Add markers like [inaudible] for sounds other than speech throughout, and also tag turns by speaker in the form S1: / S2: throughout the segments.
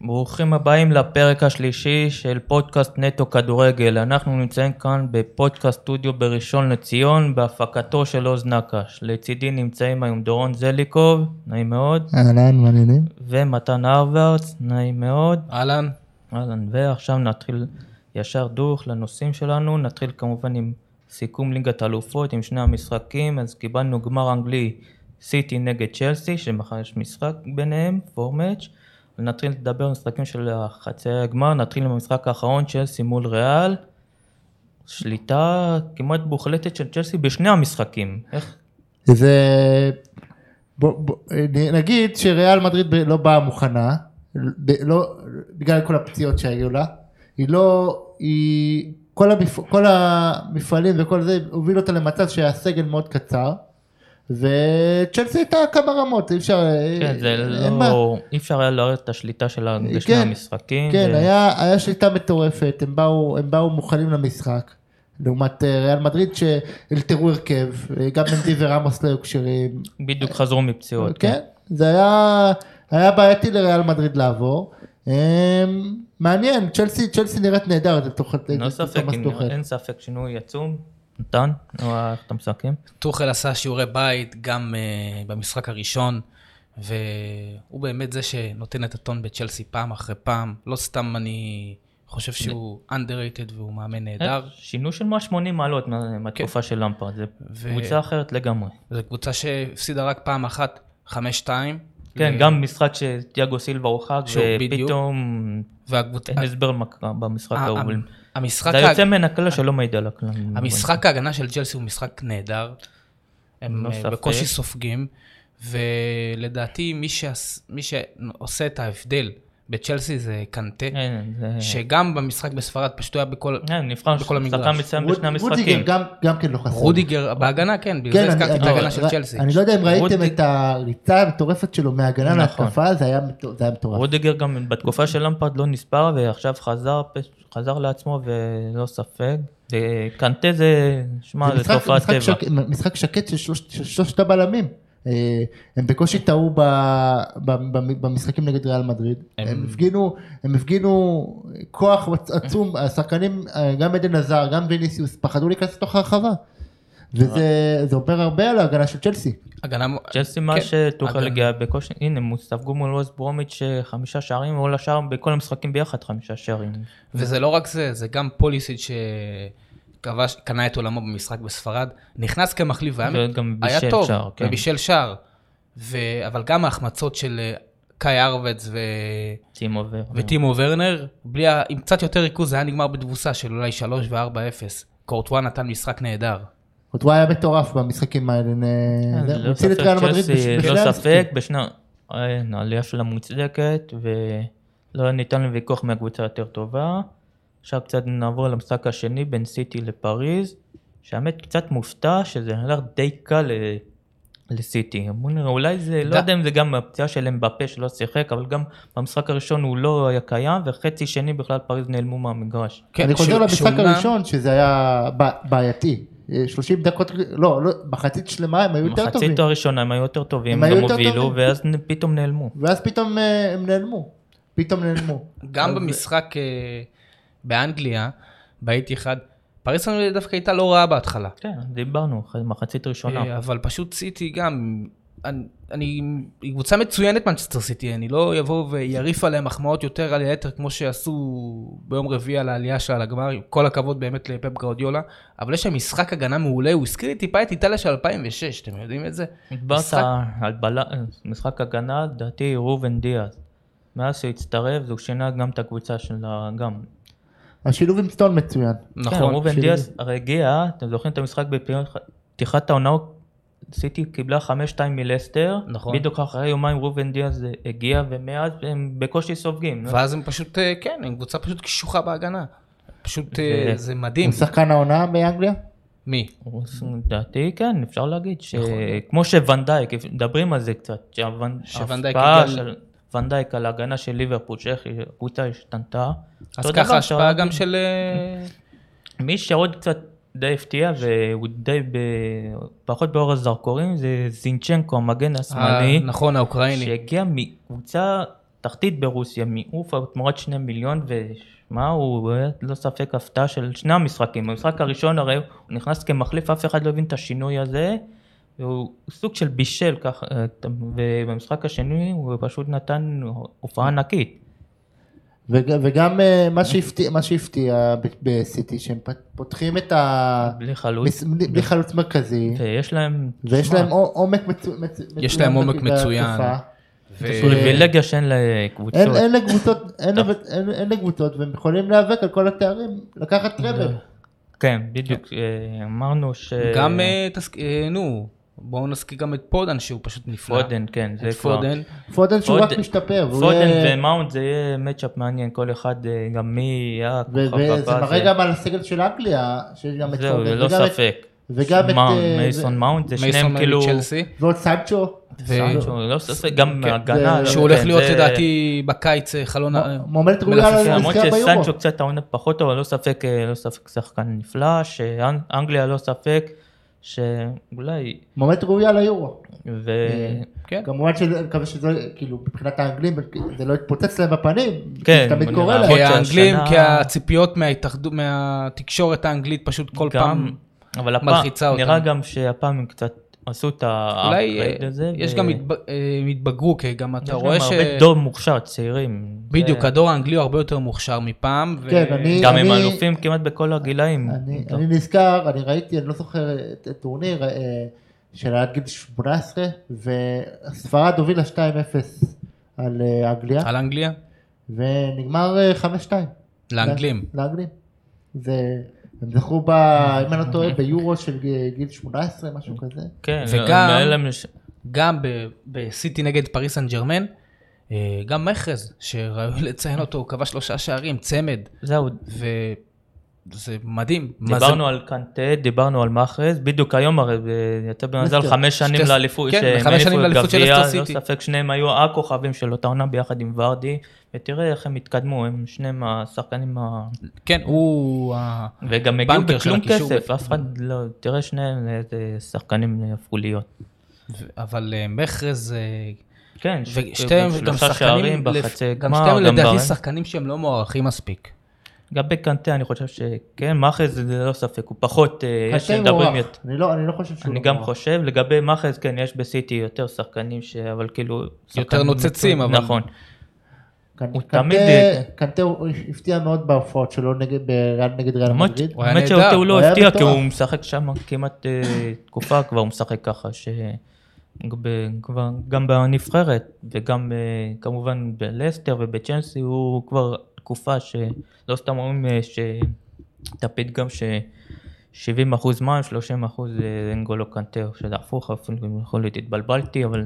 S1: ברוכים הבאים לפרק השלישי של פודקאסט נטו כדורגל. אנחנו נמצאים כאן בפודקאסט סטודיו בראשון לציון, בהפקתו של עוז נקש. לצידי נמצאים היום דורון זליקוב, נעים מאוד,
S2: אהלן, מה העניינים?
S1: ומתן הרוורץ, נעים מאוד.
S3: אהלן,
S1: אהלן, ועכשיו נתחיל ישר דוך לנושאים שלנו. נתחיל כמובן עם סיכום ליגת האלופות, עם שני המשחקים. אז קיבלנו גמר אנגלי סיטי נגד צ'לסי, שמחר יש משחק ביניהם, פורמאץ'. נתחיל לדבר על משחקים של החצי הגמר, נתחיל עם המשחק האחרון, צ'לסי מול ריאל. שליטה כמעט מוחלטת של צ'לסי בשני המשחקים. איך?
S2: זה... בוא, בוא, נ- נגיד שריאל מדריד ב- לא באה מוכנה, ב- לא, בגלל כל הפציעות שהיו לה, היא לא, היא, כל, המפ, כל המפעלים וכל זה הוביל אותה למצב שהסגל מאוד קצר, וצ'לסי הייתה כמה רמות, אי אפשר,
S1: כן, זה
S2: אין מה.
S1: לא... אי אפשר היה להראות את השליטה שלה בשני
S2: כן,
S1: המשחקים.
S2: כן,
S1: ו-
S2: היה, היה שליטה מטורפת, הם באו, הם באו מוכנים למשחק. לעומת אה, ריאל מדריד שאלתרו הרכב, אה, גם מנדי ורמוס לא היו כשירים,
S1: בדיוק חזרו מפציעות.
S2: כן, זה היה, היה בעייתי לריאל מדריד לעבור. אמ, מעניין, צ'לסי, צ'לסי נראית נהדר, זה תוכל...
S1: כן. לא ספק, אין- אין ספק שינוי עצום. נתן, נו, איך אתה מסכם?
S3: טוחל עשה שיעורי בית גם אה, במשחק הראשון, והוא באמת זה שנותן את הטון בצ'לסי פעם אחרי פעם. לא סתם אני חושב שהוא underrated והוא מאמן [laughs] נהדר.
S1: אה,
S3: כן.
S1: שינוי של 180 מעלות מה- מהתקופה של למפרד, זה
S3: ו-
S1: קבוצה אחרת לגמרי.
S3: זו קבוצה שהפסידה רק פעם אחת, 5-2.
S1: כן,
S3: ו-
S1: גם משחק שתיאגו סילבה הורחק,
S3: שוב, בדיוק.
S1: ופתאום
S3: והקבוצה...
S1: אין הסבר מה קרה במשחק
S3: ה-
S1: ההוא.
S3: ה- המשחק
S1: זה
S3: ה-
S1: יוצא מן הכלל שלא מעיד על הכלל.
S3: המשחק ההגנה של צ'לסי הוא משחק נהדר. הם
S1: לא
S3: אה,
S1: ספק.
S3: בקושי סופגים, ולדעתי מי, שעש, מי שעושה את ההבדל בצ'לסי זה קנטה,
S1: כן, זה-
S3: שגם במשחק בספרד פשוט היה בכל...
S1: כן, נבחר
S3: בכל המגרש.
S1: שחקן מצוין בשני המשחקים.
S2: גם, גם כן לא חסר.
S3: רודיגר בהגנה, כן, בגלל זה הזכרתי את ההגנה של
S2: ר-
S3: צ'לסי.
S2: אני לא יודע אם ראיתם
S1: רודיגר-
S2: את הריצה המטורפת שלו מההגנה
S1: נכון.
S2: להתקפה, זה היה מטור- זה היה מטורף.
S1: רודיגר גם בתקופה של למפרד לא נספר, ועכשיו חזר פ- חזר לעצמו, ולא ספק. זה- קנטה זה,
S2: זה
S1: שמע, זה
S2: משחק-
S1: תופעת
S2: משחק
S1: טבע.
S2: שק- משחק שקט של שלוש- של שלושת הבלמים. אה, הם בקושי טעו ב- ב- ב- במשחקים נגד ריאל מדריד. הם הפגינו, הם הפגינו כוח עצ- עצום, השחקנים, אה, גם עדן עזר, גם ויניסיוס, פחדו להיכנס לתוך הרחבה. וזה זה אומר הרבה על ההגנה של צ'לסי.
S3: הגנה...
S1: צ'לסי מה
S3: כן,
S1: שתוכל
S3: אגב.
S1: הגיע בקושי, הנה, הם ספגו מול ווסט ברומיץ' אה, חמישה שערים, או לשער בכל המשחקים ביחד חמישה שערים.
S3: וזה לא רק זה, זה גם פוליסיד שכבש, קנה את עולמו במשחק בספרד, נכנס כמחליף והיה
S1: וגם
S3: היה
S1: בישל
S3: טוב,
S1: שער, כן.
S3: ובישל שער. ו... אבל גם ההחמצות של אה, קאי ארוודס ו...
S1: טימו ו...
S3: וטימו ורנר, בלי ה... עם קצת יותר ריכוז זה היה נגמר בתבוסה של אולי 3 ו-4-0. קורטואה נתן משחק נהדר.
S2: הוא היה מטורף במשחקים האלה. אה,
S1: כן,
S2: זה-
S1: ללא
S2: הוא הציל את
S1: ספק
S2: ריאל מדריד
S1: צ'לסי,
S2: בש- בשני
S1: לא
S2: המשחקים.
S1: ספק, בשני... אה, אין, העלייה שלה מוצדקת, ולא ניתן לוויכוח מהקבוצה יותר טובה. עכשיו קצת נעבור למשחק השני בין סיטי לפריז, שהאמת קצת מופתע שזה הלך די קל ל- לסיטי. בוא נראה, אולי זה, לא
S3: ד-
S1: יודע אם זה גם הפציעה של אמבפה שלא שיחק, אבל גם במשחק הראשון הוא לא היה קיים, וחצי שני בכלל פריז נעלמו מהמגרש.
S2: אני חוזר
S3: כן, שהוא-
S2: למשחק
S3: שאומנם-
S2: הראשון שזה היה ב- בעייתי. אה, 30 דקות, לא, לא, מחצית שלמה הם היו יותר טובים.
S1: מחצית הראשונה הם היו יותר טובים,
S2: הם היו
S1: גם
S2: יותר
S1: הובילו,
S2: טובים.
S1: ואז נ- פתאום נעלמו.
S2: ואז פתאום אה, הם נעלמו. פתאום נעלמו.
S3: גם במשחק אה, באנגליה, באיטי אחד, פריס סן ז'רמן דווקא הייתה לא רעה בהתחלה.
S1: כן, דיברנו, אחרי מחצית ראשונה.
S3: אה, אבל פשוט סיטי גם, אני, אני, היא קבוצה מצוינת מנצ'סטר סיטי, אני לא אבוא ויריף עליה מחמאות יותר על היתר כמו שעשו ביום רביעי על העלייה שלה לגמר, עם כל הכבוד באמת לפפ גאודיולה, אבל יש שם משחק הגנה מעולה, הוא הזכיר לי טיפה את איטליה של 2006, אתם יודעים את זה?
S1: דיברת
S3: משחק-
S1: על בל... אה, משחק הגנה, לדעתי ראובן דיאז. מאז שהצטרף, הוא שינה גם את הקבוצה של ה... גם.
S2: השילוב עם סטון מצוין.
S1: כן,
S3: נכון,
S1: ראובן
S2: שינה.
S1: דיאז הרי הגיע, אתם זוכרים את המשחק בפתיחת העונה, סיטי קיבלה 5-2 מלסטר.
S3: נכון.
S1: בדיוק אחרי יומיים ראובן דיאז הגיע, ומאז הם בקושי סופגים. לא?
S3: ואז הם פשוט, אה, כן, הם קבוצה פשוט קשוחה בהגנה. פשוט אה,
S1: ו-
S3: זה
S2: הוא
S3: מדהים.
S2: שחקן העונה באנגליה?
S3: מי?
S1: לדעתי כן, אפשר להגיד
S3: נכון.
S1: שכמו שוונדייק, מדברים על זה קצת, שהוונ-
S3: שוונדייק
S1: ההשפעה
S3: הגיע ל-
S1: של וונדייק על ההגנה של ליברפול, שאיך הקבוצה השתנתה.
S3: אז
S1: אותו דבר
S3: ככה השפעה
S1: שהאוהדים-
S3: גם של... אה,
S1: מי שעוד קצת די הפתיע והוא די ב... פחות באור
S3: אה,
S1: הזרקורים זה זינצ'נקו המגן השמאלי
S3: נכון, האוקראיני.
S1: שהגיע מקבוצה התחתית ברוסיה, מאופה תמורת שני מיליון ושמע, הוא באמת לא ספק הפתעה של שני המשחקים. במשחק הראשון הרי הוא נכנס כמחליף, אף אחד לא הבין את השינוי הזה, והוא סוג של בישל ככה, ובמשחק השני הוא פשוט נתן הופעה ענקית.
S2: וג- וגם אה, מה שהפתיע- מה שהפתיע ב- בסיטי, שהם פ- פותחים את ה...
S1: בלי חלוץ.
S2: מס- בלי בלי חלוץ מרכזי,
S1: ויש להם... כן.
S2: ויש
S1: שמע,
S2: להם עו- עומק מצו- מצו- מצוין.
S3: יש להם עומק
S2: בהתקפה.
S3: מצוין. ו-
S1: פריבילגיה שאין לקבוצות.
S2: אין- אין לקבוצות- אין לב- אין- אין לקבוצות, והם יכולים להיאבק על כל התארים, לקחת טראבל.
S1: כן, בדיוק. אה, אמרנו ש...
S3: גם, אה, תס- אה, נו, בואו נזכיר גם את פודן שהוא פשוט נפלא.
S1: פודן, כן, זה
S3: את
S1: כבר...
S3: פודן.
S2: פודן שהוא רק
S1: פודן-
S2: משתפר, והוא
S1: פודן
S2: יהיה-
S1: ומאונט זה יהיה מצ'אפ מעניין, כל אחד, אה, גם מי יהיה הכוכב
S2: ו-
S1: הבא.
S2: וזה מראה
S1: זה-
S2: גם על הסגל של אנגליה, שיש גם את
S1: זהו,
S2: פודן,
S1: ללא
S2: וגם את-
S1: ספק.
S2: וגם את,
S1: מאונט,
S2: אה,
S1: מייסון מאונט, זה שניהם
S3: מייסון
S1: כאילו...
S3: מצ'לסי.
S2: ועוד סנצ'ו,
S1: סנצ'ו, ללא ספק, גם הגנה.
S2: זה-
S3: שהוא הולך
S1: כן,
S3: להיות
S1: זה-
S3: לדעתי בקיץ אה, חלון... ה-
S2: מועמדת ראויה
S3: מלפפון.
S1: למרות
S2: לזכייה ביורו.
S1: שסנצ'ו קצת העונה פחות טוב, אבל לא ספק, אה, לא ספק שחקן נפלא, שאנגליה לא ספק, שאולי,
S2: מועמדת ראויה ליורו.
S1: ו...
S3: כן.
S2: כמובן שאני מקווה שזה לא- כאילו מבחינת האנגלים זה לא יתפוצץ להם בפנים,
S1: כן,
S2: זה תמיד
S1: אני
S2: קורה
S1: מאמין.
S2: להם.
S1: למרות
S3: כי האנגלים,
S1: שהשנה-
S3: כי הציפיות מההתאחדות, מהתקשורת האנגלית פשוט כל פעם...
S1: אבל הפעם,
S3: מלחיצה אותם.
S1: נראה גם שהפעם הם קצת עשו את
S3: אולי
S1: האפגרייד
S3: אה,
S1: הזה.
S3: יש
S1: ו-
S3: גם התב- אה, הם התבגרו, כי גם
S1: יש
S3: אתה
S1: להם
S3: רואה ש...
S1: הרבה דור מוכשר, צעירים.
S3: בדיוק,
S1: זה-
S3: הדור האנגלי הוא הרבה יותר מוכשר מפעם. ו-
S2: כן, אני-
S1: גם הם
S2: אני-
S1: אלופים כמעט בכל הגילאים.
S2: אני-
S1: טוב.
S2: אני נזכר, אני ראיתי, אני לא זוכר את את טורניר אה, של עד גיל 18 וספרד הובילה 2-0 על אה, אנגליה
S3: על אנגליה?
S2: ונגמר אה, 5-2.
S3: לאנגלים.
S2: לאנגלים. זה, הם זכו ב... אם אני לא טועה ביורו של ג- גיל 18 משהו כזה.
S1: כן,
S3: וגם-
S1: הם אלה מש-
S3: גם ב- בסיטי נגד פריס סן ג'רמן, אה, גם מכרז, שראוי [laughs] לציין אותו, הוא כבש שלושה שערים, צמד,
S1: זהו,
S3: וזה מדהים. מה זה-
S1: דיברנו על קנטה, דיברנו על מאחז, בדיוק היום הרי זה יצא במזל
S2: לסטר.
S1: חמש שנים
S3: שתי-
S1: לאליפות,
S3: כן,
S1: שהם
S3: חמש
S1: העיפו
S3: שנים
S1: את
S3: לאליפות של
S1: גביע,
S3: לסטר
S1: לא
S3: סיטי.
S1: ספק שניהם היו הכוכבים של אותה עונה ביחד עם ורדי, ותראה איך הם התקדמו, הם שניהם השחקנים ה...
S3: כן, הוא... ה-
S1: וגם הגיעו
S3: בנקר של
S1: בכלום
S3: הקישור.
S1: כסף, אף אחד לא, תראה שניהם איזה שחקנים הפכו להיות.
S3: ו- אבל אה, מכרז... אה,
S1: כן,
S3: ושתיהם גם
S1: שלושה
S3: שחקנים,
S1: שערים
S3: לפ-
S1: בחצי
S3: גם
S1: גמר,
S3: שתיהם
S1: גם ברן.
S3: לדעתי שחקנים שהם לא מוערכים מספיק.
S1: גם בקנטה אני חושב שכן, מאחז זה ללא ספק, הוא פחות, אה, יש
S2: קשה
S1: שמדברים
S2: מוערך.
S1: יותר.
S2: אני לא אני לא חושב שהוא
S1: אני
S2: לא
S1: גם
S2: מוערך.
S1: חושב, לגבי מאחז, כן, יש בסיטי יותר שחקנים ש... אבל כאילו... שחקנים
S3: נוצצים,
S1: מצוין.
S3: אבל-
S1: נכון.
S2: קנ-
S1: הוא
S2: קנטה-
S1: תמיד- אה,
S2: קנטה הוא הפתיע מאוד בהופעות שלו נגד בריאל- נגד ריאל
S1: למרות
S2: מדריד.
S1: למרות
S3: הוא היה נהדר,
S1: שאותי הוא
S2: הוא
S1: לא
S2: היה
S1: הפתיע, כי
S2: מטורף.
S1: הוא משחק שם כמעט אה, תקופה כבר, הוא משחק ככה, ש... ב- כבר- גם בנבחרת, וגם אה, כמובן בלסטר ובצ'לסי, הוא כבר תקופה שלא סתם אומרים אה, ש... את הפתגם ש... 70 אחוז מים, 30 אחוז אה, אנגולו קנטר, שזה הפוך, אפילו יכול להיות התבלבלתי, אבל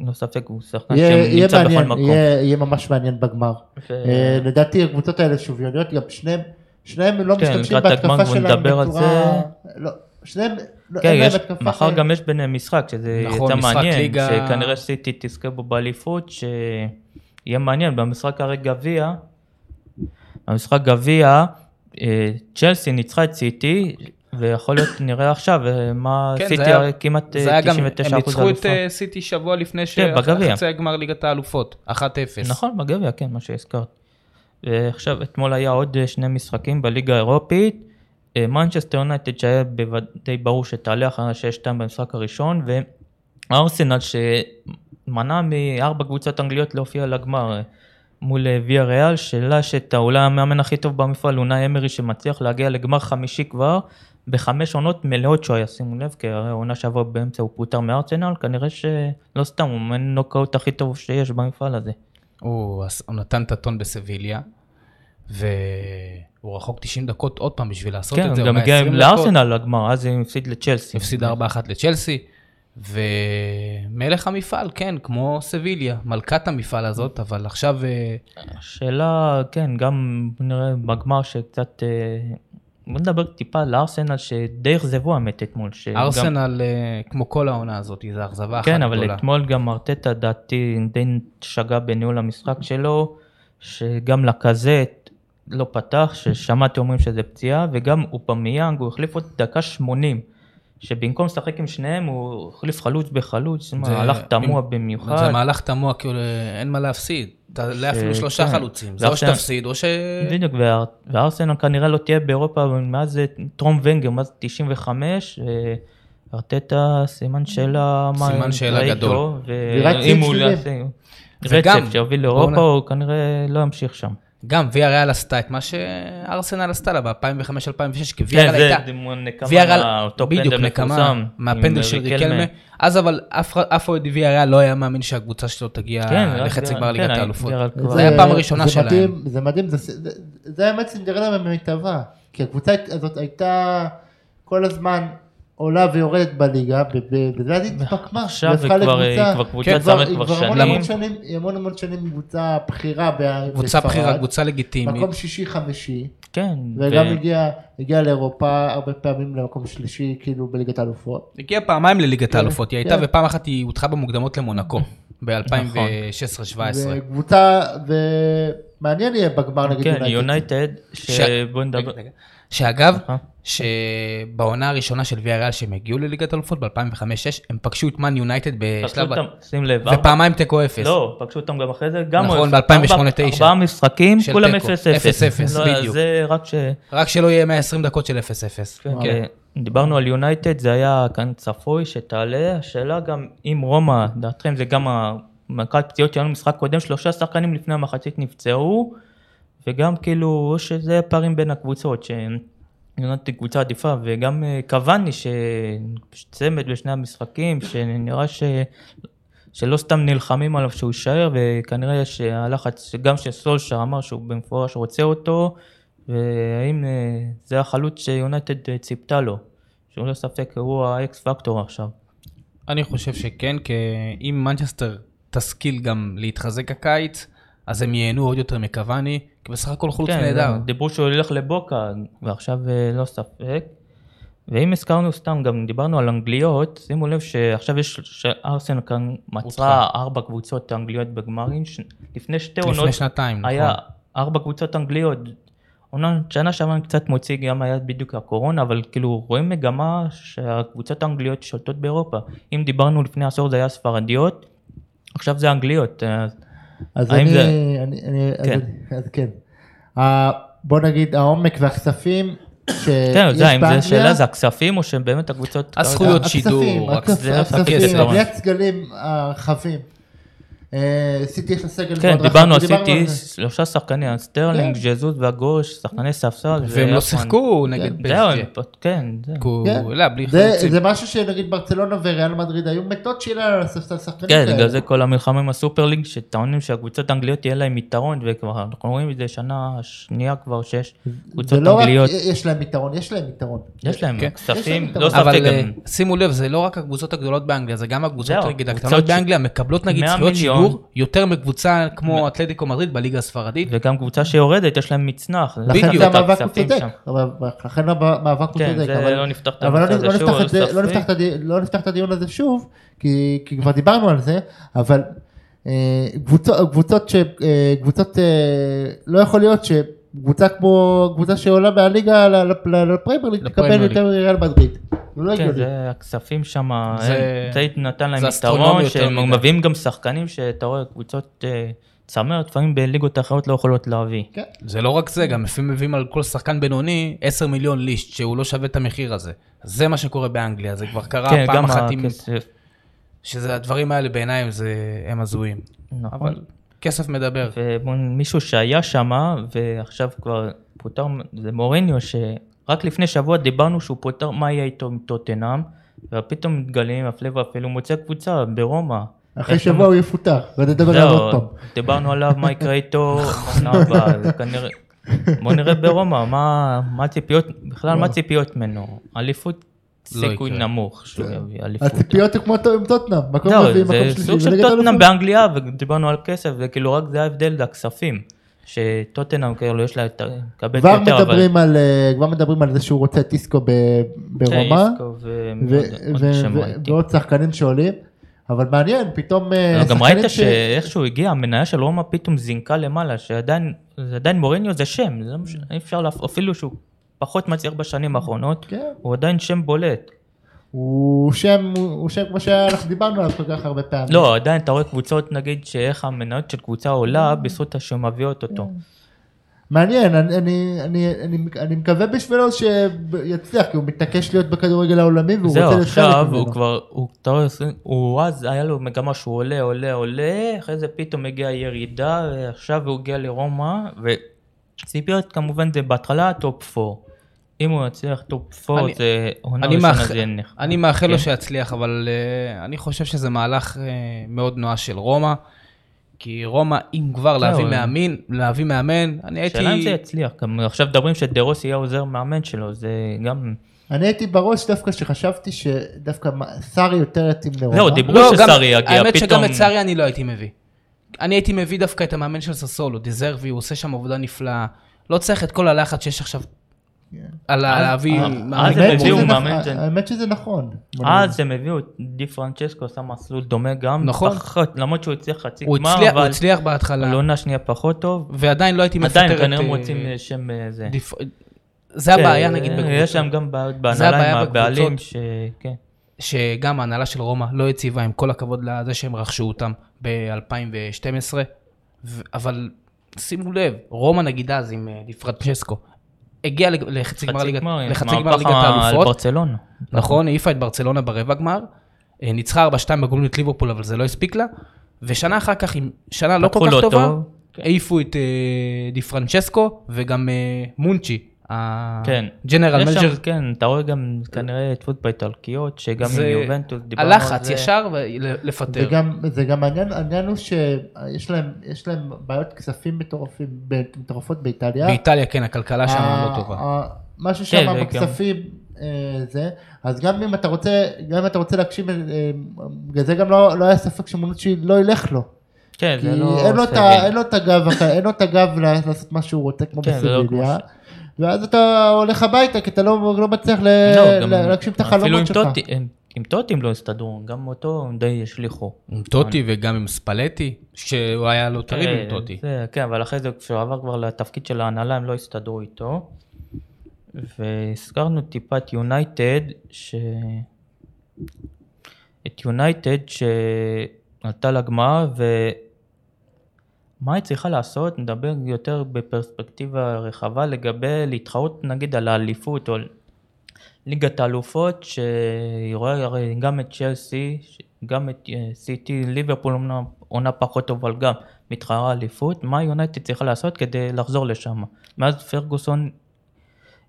S1: לא ספק הוא שחקן
S2: יהיה- יהיה
S1: שנמצא בכל
S2: מעניין,
S1: מקום.
S2: יהיה- יהיה ממש מעניין בגמר.
S1: ו-
S2: אה, לדעתי הקבוצות האלה שוויוניות, גם שניהם, שניהם לא
S1: כן,
S2: משתמשים
S1: לקראת הגמר
S2: בהתקפה
S1: כבר
S2: שלהם
S1: נדבר על
S2: בצורה... לא, שניהם, לא,
S1: כן,
S2: אין להם
S1: יש,
S2: התקפה.
S1: מחר
S2: ש-
S1: גם יש ביניהם משחק, שזה
S3: נכון,
S1: יצא
S3: משחק
S1: מעניין,
S3: ליגה.
S1: שכנראה סיטי תזכה בו באליפות, שיהיה מעניין, במשחק הרי גביע, במשחק גביע, אה, צ'לסי ניצחה את סיטי, ויכול להיות נראה עכשיו, אה, מה
S3: כן, זה
S1: סיטי
S3: היה-
S1: הרי כמעט
S3: זה
S1: אה,
S3: היה
S1: 99%
S3: גם, הם ניצחו את
S1: אלופה. כן,
S3: אה, סיטי שבוע לפני
S1: בגביע.
S3: שחצי הגמר ליגת האלופות, 1-0.
S1: נכון, בגביע, כן, מה שהזכרת. ועכשיו, אתמול היה עוד אה, שני משחקים בליגה האירופית. אה, מנצ'סטר יונייטד שהיה בוודאי ברור שתעלה אחרי 6-2 במשחק הראשון, וארסנל שמנע מארבע קבוצות אנגליות להופיע לגמר אה, מול אה, ויה ריאל, שאלה שאתה אולי המאמן הכי טוב במפעל, אונאי אמרי שמצליח להגיע לגמר חמישי כבר, בחמש עונות מלאות שהוא היה, שימו לב, כי הרי העונה שעברה באמצע הוא פוטר מארסנל, כנראה שלא סתם, הוא מאמן נוקאוט הכי טוב שיש במפעל הזה.
S3: הוא עש- הוא נתן את הטון בסביליה, והוא רחוק 90 דקות עוד פעם בשביל לעשות
S1: כן,
S3: את זה.
S1: הוא
S3: הוא
S1: גם
S3: היה
S1: הגיע
S3: 20
S1: עם
S3: דקות,
S1: לארסנל לגמר, אז הוא הפסיד לצ'לסי.
S3: הפסיד 4-1 לצ'לסי, ומלך המפעל, כן, כמו סביליה, מלכת המפעל הזאת, אבל עכשיו אה,
S1: השאלה, כן, גם נראה בגמר שקצת... אה, בוא נדבר טיפה על ארסנל, שדי אכזבו האמת אתמול. שגם-
S3: ארסנל, אה, כמו כל העונה הזאת, זה אכזבה אחת
S1: כן, אבל
S3: גדולה.
S1: אתמול גם ארטטה דעתי די שגה בניהול המשחק שלו, שגם לקזט לא פתח, ששמעתי אומרים שזה פציעה, וגם אופמיאנג, הוא החליף אותו דקה 80, שבמקום לשחק עם שניהם הוא החליף חלוץ בחלוץ, מה,
S3: זה-
S1: מהלך תמוה
S3: אם-
S1: במיוחד.
S3: זה מהלך תמוה, כאילו אה, אין מה להפסיד. תעלה
S1: ש-
S3: אפילו שלושה
S1: כן.
S3: חלוצים. זה או
S1: ועכשיו-
S3: שתפסיד או ש...
S1: בדיוק, ואר- וארסנל כנראה לא תהיה באירופה מאז אה, טרום ונגר, מאז 95, אה, ארטטה סימן שאלה, מה
S3: סימן
S1: יקרה
S3: שאלה
S1: איתו,
S3: גדול.
S2: ורק
S1: ואם
S2: ציפ
S1: הוא לא
S2: שלילי.
S1: יעשה
S3: וגם-
S1: רצף שיוביל
S3: בואו
S1: לאירופה,
S3: נ-
S1: הוא כנראה לא ימשיך שם.
S3: גם ויה ריאל עשתה את מה שארסנל עשתה לה ב-2005-2006, כי ויה
S1: כן,
S3: ריאל
S1: זה
S3: הייתה...
S1: דימון
S3: ויה ריאל-
S1: נקמה, אותו
S3: בדיוק,
S1: פנדל
S3: נקמה
S1: מפורסם.
S3: מהפנדל
S1: עם
S3: של
S1: ריקלמה.
S3: ריקלמה. אז אבל אף אחד- אף אוהד ויה ריאל לא היה מאמין שהקבוצה שלו תגיע
S1: כן, רק
S3: לחצי
S1: ויה-
S3: גמר
S1: כן,
S3: ליגת
S1: היה-
S3: האלופות.
S1: ויה ריאל כבר-
S3: זה היה הפעם הראשונה
S2: זה
S3: שלהם.
S2: מדהים, זה מדהים, זה- זה זה האמת סינדרלה במיטבה, כי הקבוצה הזאת הייתה כל הזמן עולה ויורדת בליגה, ב- ב- בזה היא התפקמה,
S1: עכשיו
S2: והפכה
S1: היא כבר-
S2: לקבוצה-
S1: היא כבר קבוצת
S2: כן,
S1: צמרת
S2: היא
S1: כבר
S2: המון
S1: שנים.
S2: המון שנים, היא המון המון שנים קבוצה בכירה ב-
S3: קבוצה
S2: בספרד.
S3: בכירה, קבוצה לגיטימית.
S2: מקום שישי חמישי,
S1: כן,
S2: וגם
S1: ו-
S2: הגיעה הגיע לאירופה הרבה פעמים למקום שלישי כאילו בליגת האלופות.
S3: הגיעה פעמיים לליגת האלופות, היא הייתה
S2: כן.
S3: ופעם אחת היא הודחה במוקדמות למונקו,
S1: נכון.
S3: ב-2016-2017.
S2: וקבוצה, ומעניין יהיה בגמר נגד
S1: כן,
S2: יונייטד.
S1: יונייטד,
S3: ש-
S1: שבוא נדבר. נכון.
S3: רגע, רגע. שאגב,
S1: סליחה.
S3: שבעונה הראשונה של ויה ריאל שהם הגיעו לליגת אלופות ב-2005-2006, הם פגשו את מאן יונייטד
S1: פגשו
S3: בשלב... ה-
S1: אותם, שים לב, ארבע-
S3: ופעמיים תיקו אפס.
S1: לא, פגשו אותם גם אחרי זה, גם
S3: נכון,
S1: אפס.
S3: ב-2008-2009.
S1: ארבע- ארבעה משחקים,
S3: של
S1: כולם 0-0.
S3: תיקו. 0-0,
S1: לא,
S3: בדיוק.
S1: זה רק ש...
S3: רק שלא יהיה 120 דקות של 0-0.
S1: כן, דיברנו על יונייטד, זה היה כאן צפוי שתעלה, השאלה גם אם רומא, דעתכם זה גם מכת פציעות שלנו במשחק קודם, שלושה שחקנים לפני המחצית נפצעו, וגם כאילו שזה פערים בין הקבוצות, שיונייטד קבוצה עדיפה, וגם אה, קוואני שצמד בשני המשחקים, שנראה ש... שלא סתם נלחמים עליו שהוא יישאר, וכנראה שהלחץ, גם שסולשר אמר שהוא במפורש רוצה אותו, והאם אה, זה החלוץ שיונייטד אה, ציפתה לו, שהוא לא ספק הוא האקס פקטור עכשיו.
S3: אני חושב שכן, כי אם מנצ'סטר תשכיל גם להתחזק הקיץ, אז הם ייהנו עוד יותר מקוואני, כי בסך הכל
S1: כן,
S3: חלוץ נהדר.
S1: גם דיברו שהוא ילך לבוקה, ועכשיו אה, לא ספק. ואם הזכרנו סתם, גם דיברנו על אנגליות, שימו לב שעכשיו יש, שארסן כאן מצאה ארבע קבוצות אנגליות בגמרים, ש... לפני שתי עונות
S3: לפני שנתיים,
S1: היה
S3: נכון.
S1: ארבע קבוצות אנגליות. אומנם שנה שעברה אני קצת מוציא, גם היה בדיוק הקורונה, אבל כאילו רואים מגמה שהקבוצות האנגליות שולטות באירופה. אם דיברנו לפני עשור זה היה ספרדיות, עכשיו זה אנגליות. אה,
S3: אה,
S1: אז-
S2: אז
S1: האם
S2: אני,
S1: זה-
S2: אני, אני,
S1: כן.
S2: כן. אז, אז כן. Uh, בוא נגיד העומק והכספים שיש
S1: כן, זה, אם
S2: באנגליה,
S1: זה שאלה זה הכספים או שבאמת הקבוצות... אה,
S3: הזכויות
S2: הכספים,
S3: שידור,
S2: הכספ-
S1: זה הכסף,
S2: הכספים,
S1: לא.
S2: הבניית סגלים הרחבים. אה, סיטי יש לה סגל
S1: כן,
S2: מאוד רחב,
S1: דיברנו על
S2: ודיברנו
S1: סיטי,
S2: זה.
S1: שלושה שחקנים, סטרלינג, ז'זוס והגורש, שחקני ספסל.
S3: כן. והם
S1: ויפמן.
S3: לא
S1: נכון.
S3: שיחקו נגד
S1: זהו, הם
S3: פסג'ה.
S1: פה- כן, זהו.
S2: כן.
S3: לא, בלי
S2: זה,
S3: חלוצים.
S2: זה משהו שנגיד ברצלונה וריאל מדריד היו מתות שיהיה לה על הספסל שחקנים
S1: כן,
S2: כאלה.
S1: בגלל זה כל המלחמה עם הסופר ליג, שטעונים שהקבוצות האנגליות יהיה להם יתרון, וכבר אנחנו רואים את זה שנה שנייה כבר שיש קבוצות
S2: ולא לא רק
S1: אנגליות.
S2: יש להם יתרון, יש להם יתרון.
S1: יש להם
S3: כן.
S1: כספים,
S2: יש להם
S1: לא
S2: יתרון.
S1: ספק
S3: אבל אה,
S1: גם.
S3: שימו לב, זה לא רק הקבוצות הגדולות באנגליה, זה גם הקבוצות
S1: זהו,
S3: נגיד
S1: קבוצות
S3: הקטנות
S1: ש-
S3: באנגליה מקבלות נגיד
S1: 100
S3: זכויות
S1: מיליון.
S3: שידור יותר מקבוצה כמו אתלטיקו מדריד בליגה הספרדית.
S1: וגם קבוצה שיורדת, יש להם מצנח.
S2: לכן
S1: בדיוק,
S2: זה אה, המאבק הוא
S1: הכספים
S2: צודק, כן,
S1: שם.
S2: המאבק- לכן המאבק הוא
S1: כן,
S2: צודק,
S1: זה
S2: אבל
S1: לא נפתח את
S2: אבל
S1: הנושא
S2: לא,
S1: הזה
S2: לא,
S1: שוב,
S2: נפתח את זה,
S1: ספק.
S2: לא, נפתח את הדי, לא נפתח את הדיון הזה שוב, כי, כי כבר דיברנו על זה, אבל אה, קבוצות, קבוצות, ש, אה, קבוצות אה, לא יכול להיות שקבוצה כמו קבוצה שעולה מהליגה ל- ל- ל- לפריימר ליג
S3: לפריימיר
S2: תקבל
S3: ליג.
S2: יותר מריאל מדריד. זה לא
S1: כן,
S2: הגיוני.
S1: זה הכספים שם,
S3: זה-
S1: הם- זה נתן להם
S3: זה
S1: יתרון,
S3: אסטרונומי יותר
S1: שהם
S3: מדי.
S1: מביאים גם שחקנים שאתה רואה, קבוצות אה, צמרת, לפעמים בליגות אחרות לא יכולות להביא.
S2: כן.
S3: זה לא רק זה, גם לפעמים מביאים על כל שחקן בינוני 10 מיליון ליסט, שהוא לא שווה את המחיר הזה. זה מה שקורה באנגליה, זה כבר קרה
S1: כן,
S3: פעם
S1: גם
S3: אחת עם...
S1: הכסף.
S3: שזה הדברים האלה בעיניי זה- הם הזויים.
S1: נכון.
S3: אבל כסף מדבר.
S1: כן. ומישהו שהיה שם ועכשיו כבר פוטר, זה מוריניו שרק לפני שבוע דיברנו שהוא פוטר, מה יהיה איתו עם טוטנאם, ופתאום מתגלים, הפלא ופלא, הוא מוצא קבוצה ברומא.
S2: אחרי
S1: איך
S2: שבוע הוא יפוטר, ונדבר עליו
S1: זהו,
S2: עוד פעם. נכון.
S1: דיברנו עליו, מה יקרה
S2: [laughs]
S1: איתו, עונה הבאה, זה כנראה... בוא נראה ברומא, מה מה הציפיות, בכלל
S2: לא.
S1: מה הציפיות ממנו? אליפות סיכוי
S3: יקרה.
S1: נמוך שהוא
S2: כן.
S1: יביא אליפות.
S2: הציפיות הן כמו טו- עם טוטנאם, מקום
S1: זהו,
S2: רביעי, מקום
S1: לא, זה
S2: שלישי.
S1: סוג של
S2: וליגת
S1: טוטנאם
S2: האלופות.
S1: באנגליה, ודיברנו על כסף, זה כאילו רק זה ההבדל, זה הכספים. שטוטנאם כאילו יש לה את ה... מקבלת
S2: כבר
S1: יותר, אבל...
S2: מדברים על, אה, כבר מדברים על זה שהוא רוצה טיסקו ב- ברומא.
S1: טייסקו ו-
S2: ו-
S1: עוד
S2: ו-
S1: שם
S2: ו-
S1: ראיתי.
S2: ועוד שחקנים שעולים, אבל מעניין, פתאום... אה,
S1: אבל גם
S2: שחקנים
S1: ראית
S2: ש-
S1: שאיך שהוא הגיע, המניה של רומא פתאום זינקה למעלה, שעדיין זה עדיין מוריניו זה שם, זה לא מש- אי אפשר, להפ- אפילו שהוא פחות מצליח בשנים האחרונות,
S2: כן.
S1: הוא עדיין שם בולט.
S2: הוא שם, הוא שם כמו שאנחנו דיברנו עליו כל כך הרבה פעמים.
S1: לא, עדיין אתה רואה קבוצות, נגיד, שאיך המניות של קבוצה עולה בזכות שמביאות אותו.
S2: מעניין, אני, אני, אני, אני, אני מקווה בשבילו שיצליח, כי הוא מתעקש להיות בכדורגל העולמי והוא רוצה
S1: זהו,
S2: להיות חלק
S1: עכשיו
S2: ממנו.
S1: הוא כבר, הוא- אתה רואה, הוא אז היה לו מגמה שהוא עולה, עולה, עולה, אחרי זה פתאום הגיעה ירידה, ועכשיו הוא הגיע לרומא, וציפיות כמובן זה בהתחלה טופ 4. אם הוא יצליח טופ 4
S3: אני-
S1: זה עונה
S3: אני
S1: ראשונה
S3: מאח-
S1: זה יהיה נכ-
S3: אני מאחל לו
S1: כן.
S3: שיצליח, אבל אה, אני חושב שזה מהלך אה, מאוד נואש של רומא, כי רומא, אם כבר להביא
S1: כן, אבל-
S3: מאמן, להביא מאמן, אני הייתי...
S1: השאלה אם זה יצליח, גם עכשיו מדברים שדרוס יהיה עוזר מאמן שלו, זה גם...
S2: אני הייתי בראש דווקא שחשבתי שדווקא מה- סארי יותר יתאים לרומא.
S1: זהו, דיברו
S3: לא, גם-
S1: שסארי יגיע,
S3: האמת שגם
S1: פתאום...
S3: את סארי אני לא הייתי מביא. אני הייתי מביא דווקא את המאמן של ססולו, דזרבי, הוא עושה שם עבודה נפלאה. לא צריך את כל הלחץ שיש עכשיו על ה- להביא...
S1: אה,
S3: מאמן
S1: אז
S2: האמת
S1: הם
S2: שזה
S1: הביאו
S2: נכ-
S1: מאמן ש-
S2: האמת שזה נכון.
S1: אז הם הביאו את די פרנצ'סקו, עשה מסלול דומה גם,
S3: נכון.
S1: פחות, למרות שהוא הצליח חצי
S3: הוא
S1: גמר,
S3: הצליח- הוא
S1: אבל
S3: הצליח בהתחלה,
S1: לעונה שנייה פחות טוב,
S3: ועדיין לא הייתי מפטר את...
S1: עדיין כנראה הם
S3: אה,
S1: רוצים אה, שם אה, זה.
S3: דיפ- זה הבעיה
S1: כן,
S3: נגיד
S1: אה,
S3: בקבוצות.
S1: יש שם גם בעיות
S3: זה
S1: בהנהלה עם
S3: הבעיה
S1: הבעלים, כן,
S3: בקבוצות.
S1: שכן.
S3: שגם ההנהלה של רומא לא יציבה, עם כל הכבוד לזה שהם רכשו אותם ב-2012, ו- אבל שימו לב, רומא נגיד אז עם אה, די פרנצ'סקו, הגיע לג- לחצי גמר ליגת לחצי גמר ליגת
S1: על
S3: האלופות,
S1: ברצלונה.
S3: נכון, העיפה את ברצלונה ברבע גמר, אה, ניצחה 4-2 בגולים את ליברפול, אבל זה לא הספיק לה, ושנה אחר כך, עם שנה לא כל
S1: פתחו
S3: כך
S1: לא
S3: טובה, כן.
S1: טוב.
S3: העיפו את אה, די פרנצ'סקו וגם אה, מונצ'י,
S1: כן.
S3: הג'נרל
S1: יש שם,
S3: מנג'ר
S1: כן, אתה רואה גם כנראה התפות באיטלקיות, שגם
S3: זה-
S1: עם יובנטוס דיברנו על זה.
S3: הלחץ ישר ולפטר.
S2: וגם, זה גם העניין, העניין הוא שיש להם, יש להם בעיות כספים מטורפים, מטורפות באיטליה.
S3: באיטליה כן, הכלכלה שם
S2: ה-
S3: לא טובה.
S2: ה- משהו
S1: כן,
S2: שם
S1: זה
S2: בכספים אה, זה, אז גם אם אתה רוצה, גם אם אתה רוצה להקשיב, אה, בגלל זה גם לא לא היה ספק שמונוצ'י לא ילך לו.
S1: כן,
S2: כי
S1: זה לא...
S2: אין לו את
S1: סביר.
S2: ה- אין לו את הגב, הח- אין לו את הגב ל- לעשות מה שהוא רוצה כמו
S1: כן, זה לא
S2: בסיביליה.
S1: כמו
S2: ואז אתה הולך הביתה כי אתה לא לא מצליח ל-
S1: לא, גם-
S2: ל- להגשים את החלומות שלך.
S1: אפילו עם טוטי- הם- עם טוטים לא הסתדרו, גם אותו הם די השליכו.
S3: עם טוטי וגם עם ספלטי, שהוא היה לו טריב
S1: כן,
S3: עם טוטי.
S1: זה- כן, אבל אחרי זה, כשהוא עבר כבר לתפקיד של ההנהלה, הם לא הסתדרו איתו. והזכרנו טיפה את יונייטד, ש... את יונייטד שעלתה לגמר, ו... מה היא צריכה לעשות? נדבר יותר בפרספקטיבה רחבה לגבי להתחרות נגיד על האליפות או על ליגת האלופות, שהיא רואה הרי גם את צ'לסי, ש- גם את אה, סיטי, ליברפול אומנם עונה פחות טובה, אבל גם מתחרה אליפות, מה יונייטד צריכה לעשות כדי לחזור לשם? מאז פרגוסון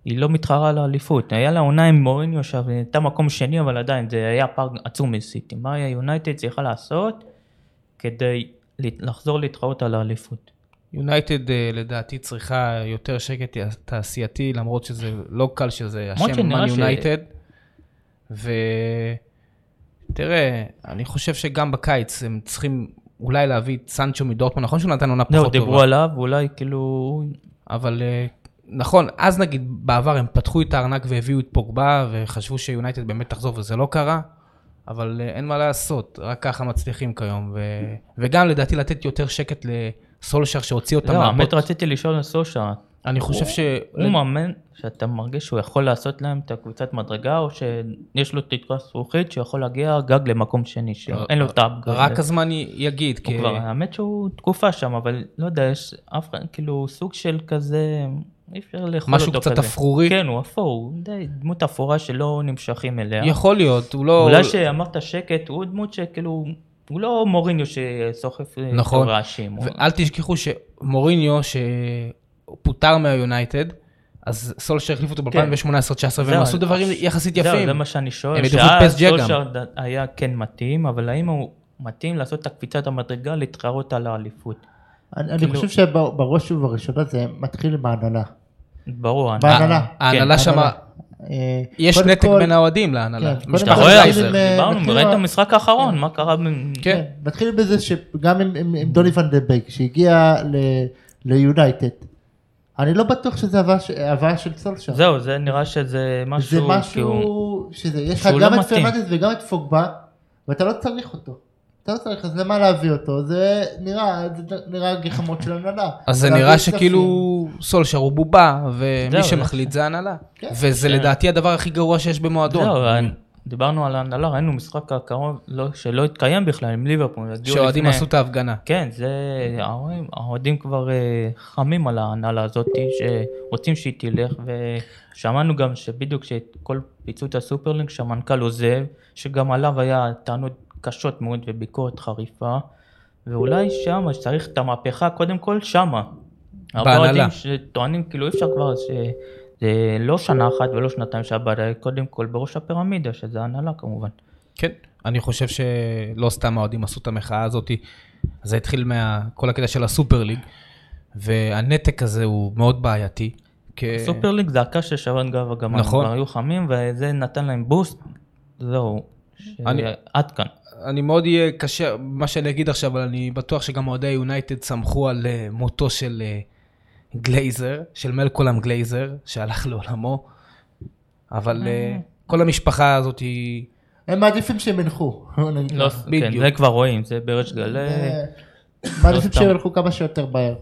S1: היא לא מתחרה על האליפות, היה לה עונה עם מוריניו שם, היא הייתה מקום שני, אבל עדיין זה היה פער עצום מסיטי, מה יונייטד צריכה לעשות כדי ל- לחזור להתחרות על האליפות?
S3: יונייטד אה, לדעתי צריכה יותר שקט תעשייתי, למרות שזה לא קל שזה
S1: למרות
S3: השם
S1: שנראה
S3: מן
S1: ש-
S3: יונייטד. ותראה, אני חושב שגם בקיץ הם צריכים אולי להביא את סנצ'ו מדורטמונד, נכון שהוא נתן עונה
S1: זהו,
S3: פחות
S1: דיברו
S3: טובה,
S1: עליו, אולי כאילו...
S3: אבל אה, נכון, אז נגיד בעבר הם פתחו את הארנק והביאו את פוגבה, וחשבו שיונייטד באמת תחזור וזה לא קרה, אבל אה, אין מה לעשות, רק ככה מצליחים כיום, ו... וגם לדעתי לתת יותר שקט לסולשר שהוציא אותם
S1: לא, האמת
S3: מהבוט.
S1: רציתי לשאול על סושה,
S3: אני חושב ש...
S1: הוא מאמן שאתה מרגיש שהוא יכול לעשות להם את הקבוצת מדרגה, או שיש לו תקרה זכוכית שיכול להגיע גג למקום שני, שאין לו את האפגרד.
S3: רק הזמן י- יגיד,
S1: הוא
S3: כי...
S1: כבר, האמת שהוא תקופה שם, אבל לא יודע, יש אף אחד, כאילו סוג של כזה, אי אפשר לאכול אותו כזה.
S3: משהו קצת אפרורי.
S1: כן, הוא אפור, הוא די דמות אפורה שלא נמשכים אליה.
S3: יכול להיות, הוא לא...
S1: אולי שאמרת שקט, הוא דמות שכאילו, הוא לא מוריניו שסוחף אה,
S3: נכון.
S1: רעשים. הוא-
S3: ואל תשכחו שמוריניו, שפוטר מהיונייטד, אז סולשר החליף אותו
S1: כן.
S3: ב-2018-2019,
S1: זהו,
S3: והם עשו
S1: אני-
S3: דברים יחסית
S1: זהו,
S3: יפים.
S1: לא, זה מה שאני שואל.
S3: הם ידעו
S1: שאז
S3: פס ג'ה גם.
S1: סולשארד היה כן מתאים, אבל האם הוא מתאים לעשות את הקפיצת המדרגה להתחרות על האליפות?
S2: אני אני
S1: כאילו-
S2: חושב שבראש ובראשונה זה מתחיל עם ההנהלה.
S1: ברור. אני-
S2: בהנהלה.
S3: אה, ההנהלה שמה...
S2: ההנהלה. אה,
S3: יש
S2: קודם
S3: נתק
S2: כל-
S3: בין האוהדים להנהלה.
S2: כן,
S1: אתה
S3: משפחת
S2: קודם כל-
S1: רואה,
S3: לייזר.
S2: אבל- אה,
S1: דיברנו,
S2: מתחיל
S1: ראית את
S2: ה-
S1: המשחק האחרון, מה קרה? ב-
S3: כן.
S2: כן, נתחיל בזה שגם עם, עם, עם דוני ונדבייק שהגיע ל- ליונייטד, אני לא בטוח שזה הבאה ש- הבאה של סולשר.
S1: זהו, זה נראה שזה משהו,
S2: זה
S1: כאילו,
S2: משהו שזה, יש לך
S1: שהוא
S2: גם
S1: לא
S2: את
S1: מתאים.
S2: פרננדס וגם את פוגבה, ואתה לא צריך אותו. אתה לא צריך, אז למה להביא אותו? זה נראה, זה נראה גחמות של הנהלה.
S3: אז זה
S2: להביא
S3: נראה
S2: כספים.
S3: שכאילו סולשר הוא בובה,
S1: זהו, זה-
S3: ומי שמחליט זה ההנהלה.
S2: כן.
S3: וזה
S1: כן.
S3: לדעתי הדבר הכי גרוע שיש במועדון.
S1: זהו, אני- דיברנו על ההנהלה, ראינו משחק הקרוב לא, שלא התקיים בכלל עם ליברפול. הגיעו
S3: שהאוהדים
S1: לפני-
S3: עשו את ההפגנה.
S1: כן, זה... האוהדים- האוהדים כבר אה, חמים על ההנהלה הזאת, שרוצים שהיא תלך, ושמענו גם שבדיוק שכל פיצוץ הסופרלינג, שהמנכ"ל עוזב, שגם עליו היה טענות קשות מאוד וביקורת חריפה, ואולי שמה, שצריך את המהפכה, קודם כל שמה. הרבה
S3: בהנהלה.
S1: אוהדים שטוענים, כאילו אי אפשר כבר ש... זה לא שנה אחת ולא שנתיים שהבעיה, קודם כל בראש הפירמידה, שזה ההנהלה כמובן.
S3: כן, אני חושב שלא סתם האוהדים עשו את המחאה הזאת, זה התחיל מכל הקטע של הסופר ליג, והנתק הזה הוא מאוד בעייתי. כ-
S1: סופר ליג זה הקש של שרון גב הגמל,
S3: אה, נכון.
S1: נכון. כבר היו חמים וזה נתן להם בוסט, זהו, ש-
S3: אני-
S1: עד כאן.
S3: אני מאוד אהיה קשה, מה שאני אגיד עכשיו, אבל אני בטוח שגם אוהדי יונייטד שמחו על אה, מותו של אה, גלייזר, של מלקולם גלייזר, שהלך לעולמו, אבל אה, כל המשפחה הזאת היא...
S2: הם מעדיפים שהם ינחו. בוא נגיד
S1: לא,
S2: ככה.
S1: כן,
S3: אה, בדיוק.
S1: זה כבר רואים, זה בריש גלי,
S2: אה, מעדיפים
S1: לא, סתם.
S2: שהם ילכו כמה שיותר מהר.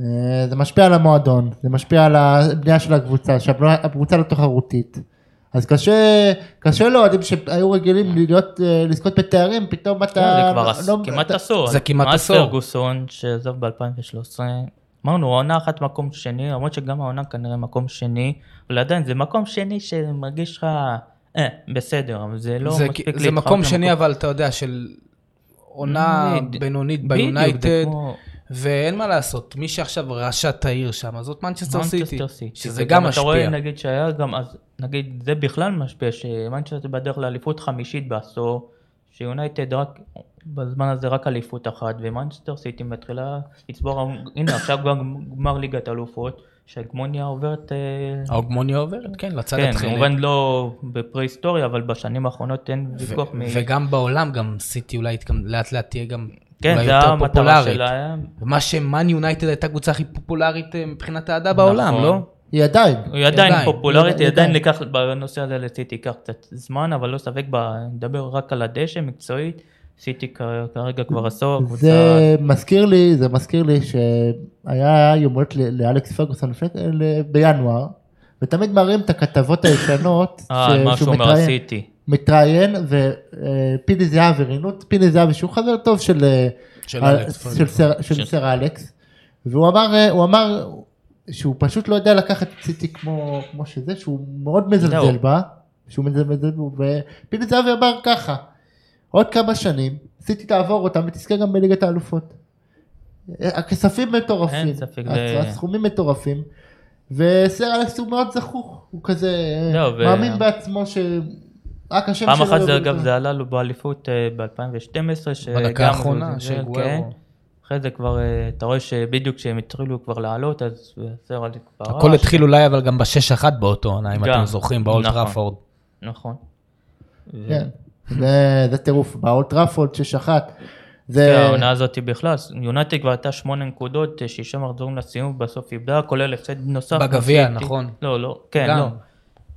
S2: אה, זה משפיע על המועדון, זה משפיע על הבנייה של הקבוצה, שהקבוצה לא תחרותית. אז קשה, קשה לאוהדים שהיו רגילים להיות, אה, לזכות בתארים, פתאום אתה...
S1: זה כבר עש-
S2: לא-
S1: כמעט
S2: אתה-
S1: עשור.
S3: זה
S1: אז
S3: כמעט
S1: מאז
S3: עשור.
S1: פרגוסון שעזב ב-2013, אמרנו העונה אחת מקום שני, למרות שגם העונה כנראה מקום שני, אבל עדיין זה מקום שני שמרגיש לך, אה, בסדר, אבל זה לא
S3: זה,
S1: מספיק
S3: כי- זה
S1: להתחרות
S3: מקום
S1: למקום-
S3: שני, אבל אתה יודע, של עונה
S1: בדיוק,
S3: בינונית
S1: בדיוק, זה
S3: ביונייטד,
S1: כמו-
S3: ואין מה לעשות, מי שעכשיו ראשת העיר שם, זאת מנצ'סטר סיטי,
S1: מנצ'סטר סיטי.
S3: שזה
S1: וגם
S3: גם
S1: אתה רואה
S3: משפיע.
S1: נגיד שהיה גם, אז נגיד זה בכלל משפיע, שמנצ'סטר בדרך לאליפות חמישית בעשור, שיונייטד רק, בזמן הזה רק אליפות אחת, ומנצ'סטר סיטי מתחילה לצבור, הנה עכשיו גם גמר ליגת אלופות, שההגמוניה עוברת, אה,
S3: ההוגמוניה עוברת, כן, לצד
S1: כן,
S3: התחילי.
S1: כמובן לא בפרה-היסטוריה, אבל בשנים האחרונות אין
S3: ו-
S1: ויכוח מ...
S3: וגם בעולם, גם סיטי אולי התקמ- לאט לאט תהיה גם
S1: כן,
S3: אולי
S1: זה
S3: יותר
S1: המטרה אה,
S3: פופולרית.
S1: שלהם.
S3: מה שמאן יונייטד הייתה הקבוצה הכי פופולרית אה, מבחינת אהדה בעולם,
S1: נכון.
S3: לא?
S2: היא עדיין.
S1: היא עדיין
S3: עדיין,
S1: פופולרית, היא
S2: עדיין.
S1: עדיין לקח, בנושא הזה לסיטי ייקח קצת זמן, אבל לא ספק, ב- נדבר רק על הדשא מקצועית, סיטי כ- כרגע כבר עשור, קבוצה,
S2: זה מזכיר לי, זה מזכיר לי שהיה יום הולדת ל- לאלכס פרגוסון לפני- ל- בינואר, ותמיד מראים את הכתבות הישנות,
S1: אה, מה שהוא אומר על
S2: מתראיין-
S1: סיטי.
S2: מתראיין, ופיני זהבי, ראיינו את פיני זהבי שהוא חבר טוב של אה,
S3: של
S2: אה,
S3: אלכס
S2: של
S3: פרגוסון.
S2: סר- של
S1: של-
S2: סר אלכס, והוא אמר, אה, הוא אמר שהוא פשוט לא יודע לקחת את סיטי כמו כמו שזה, שהוא מאוד מזלזל
S1: זהו.
S2: בה, שהוא מזלזל בה, ופיני זהבי אמר ככה, עוד כמה שנים סיטי תעבור אותם ותזכה גם בליגת האלופות. אה, הכספים מטורפים,
S1: אין ספק,
S2: הס-
S1: זה-
S2: הסכומים מטורפים, וסר אלכס הוא מאוד זכוך, הוא כזה אה,
S1: זהו, לא, ו-
S2: מאמין בעצמו שרק השם לא
S1: פעם אחת זה
S2: כן, יבוא
S1: אגב,
S2: בטוב.
S1: זה עלה לו באליפות אה, ב-2012,
S3: בדקה
S1: שגם הוא
S3: האחרונה,
S1: זלזל,
S3: שגוארו.
S1: כן. אחרי זה כבר, אה, אתה רואה שבדיוק כשהם התחילו כבר לעלות, אז סר אליקס כבר...
S3: הכל
S1: רש.
S3: התחיל אולי אבל גם בשש אחת באותו עונה, אם
S1: גם.
S3: אתם זוכרים, באולט
S1: נכון.
S3: ראפורד.
S1: נכון. ו-
S2: כן, [laughs] זה- זה טירוף, באולטראפורד 6-1.
S1: כן,
S2: זה
S1: העונה הזאת בכלל, יונטי כבר הייתה שמונה נקודות, אה, שישה מחזורים לסיום, בסוף איבדה, כולל הפסד נוסף.
S3: בגביע,
S1: לסיטי.
S3: נכון.
S1: לא, לא, כן,
S3: גם.
S1: לא.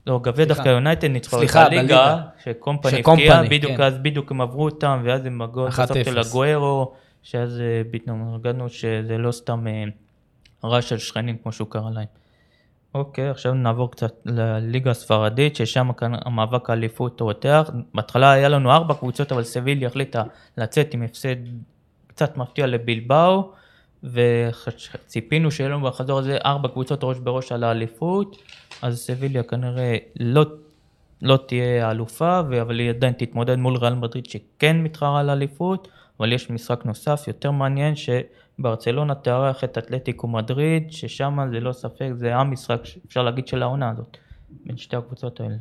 S1: לא, גביע דווקא יונייטד ניצחו את
S3: סליחה,
S1: הליגה,
S3: בליגה.
S1: שקומפני
S3: שקומפני,
S1: הפקיע, בדיוק
S3: כן.
S1: אז בדיוק הם עברו אותם, ואז הם הגול
S3: 1-0.
S1: בסוף של הגוארו, שאז אה, פתאום הרגענו שזה לא סתם אה, רעש של שכנים כמו שהוא קרא להם. אוקיי, עכשיו נעבור קצת לליגה הספרדית, ששם כאן המאבק האליפות רותח. בהתחלה היה לנו ארבע קבוצות, אבל סביליה החליטה לצאת עם הפסד קצת מפתיע לבלבאו, וציפינו שיהיה לנו בחזור הזה ארבע קבוצות ראש בראש על האליפות, אז סביליה כנראה לא, לא תהיה האלופה, ו- אבל היא עדיין תתמודד מול ריאל מדריד שכן מתחרה על האליפות, אבל יש משחק נוסף יותר מעניין, שברצלונה תארח את אתלטיקו מדריד, ששם זה לא ספק, זה המשחק, ש- אפשר להגיד, של העונה הזאת, בין שתי הקבוצות האלה.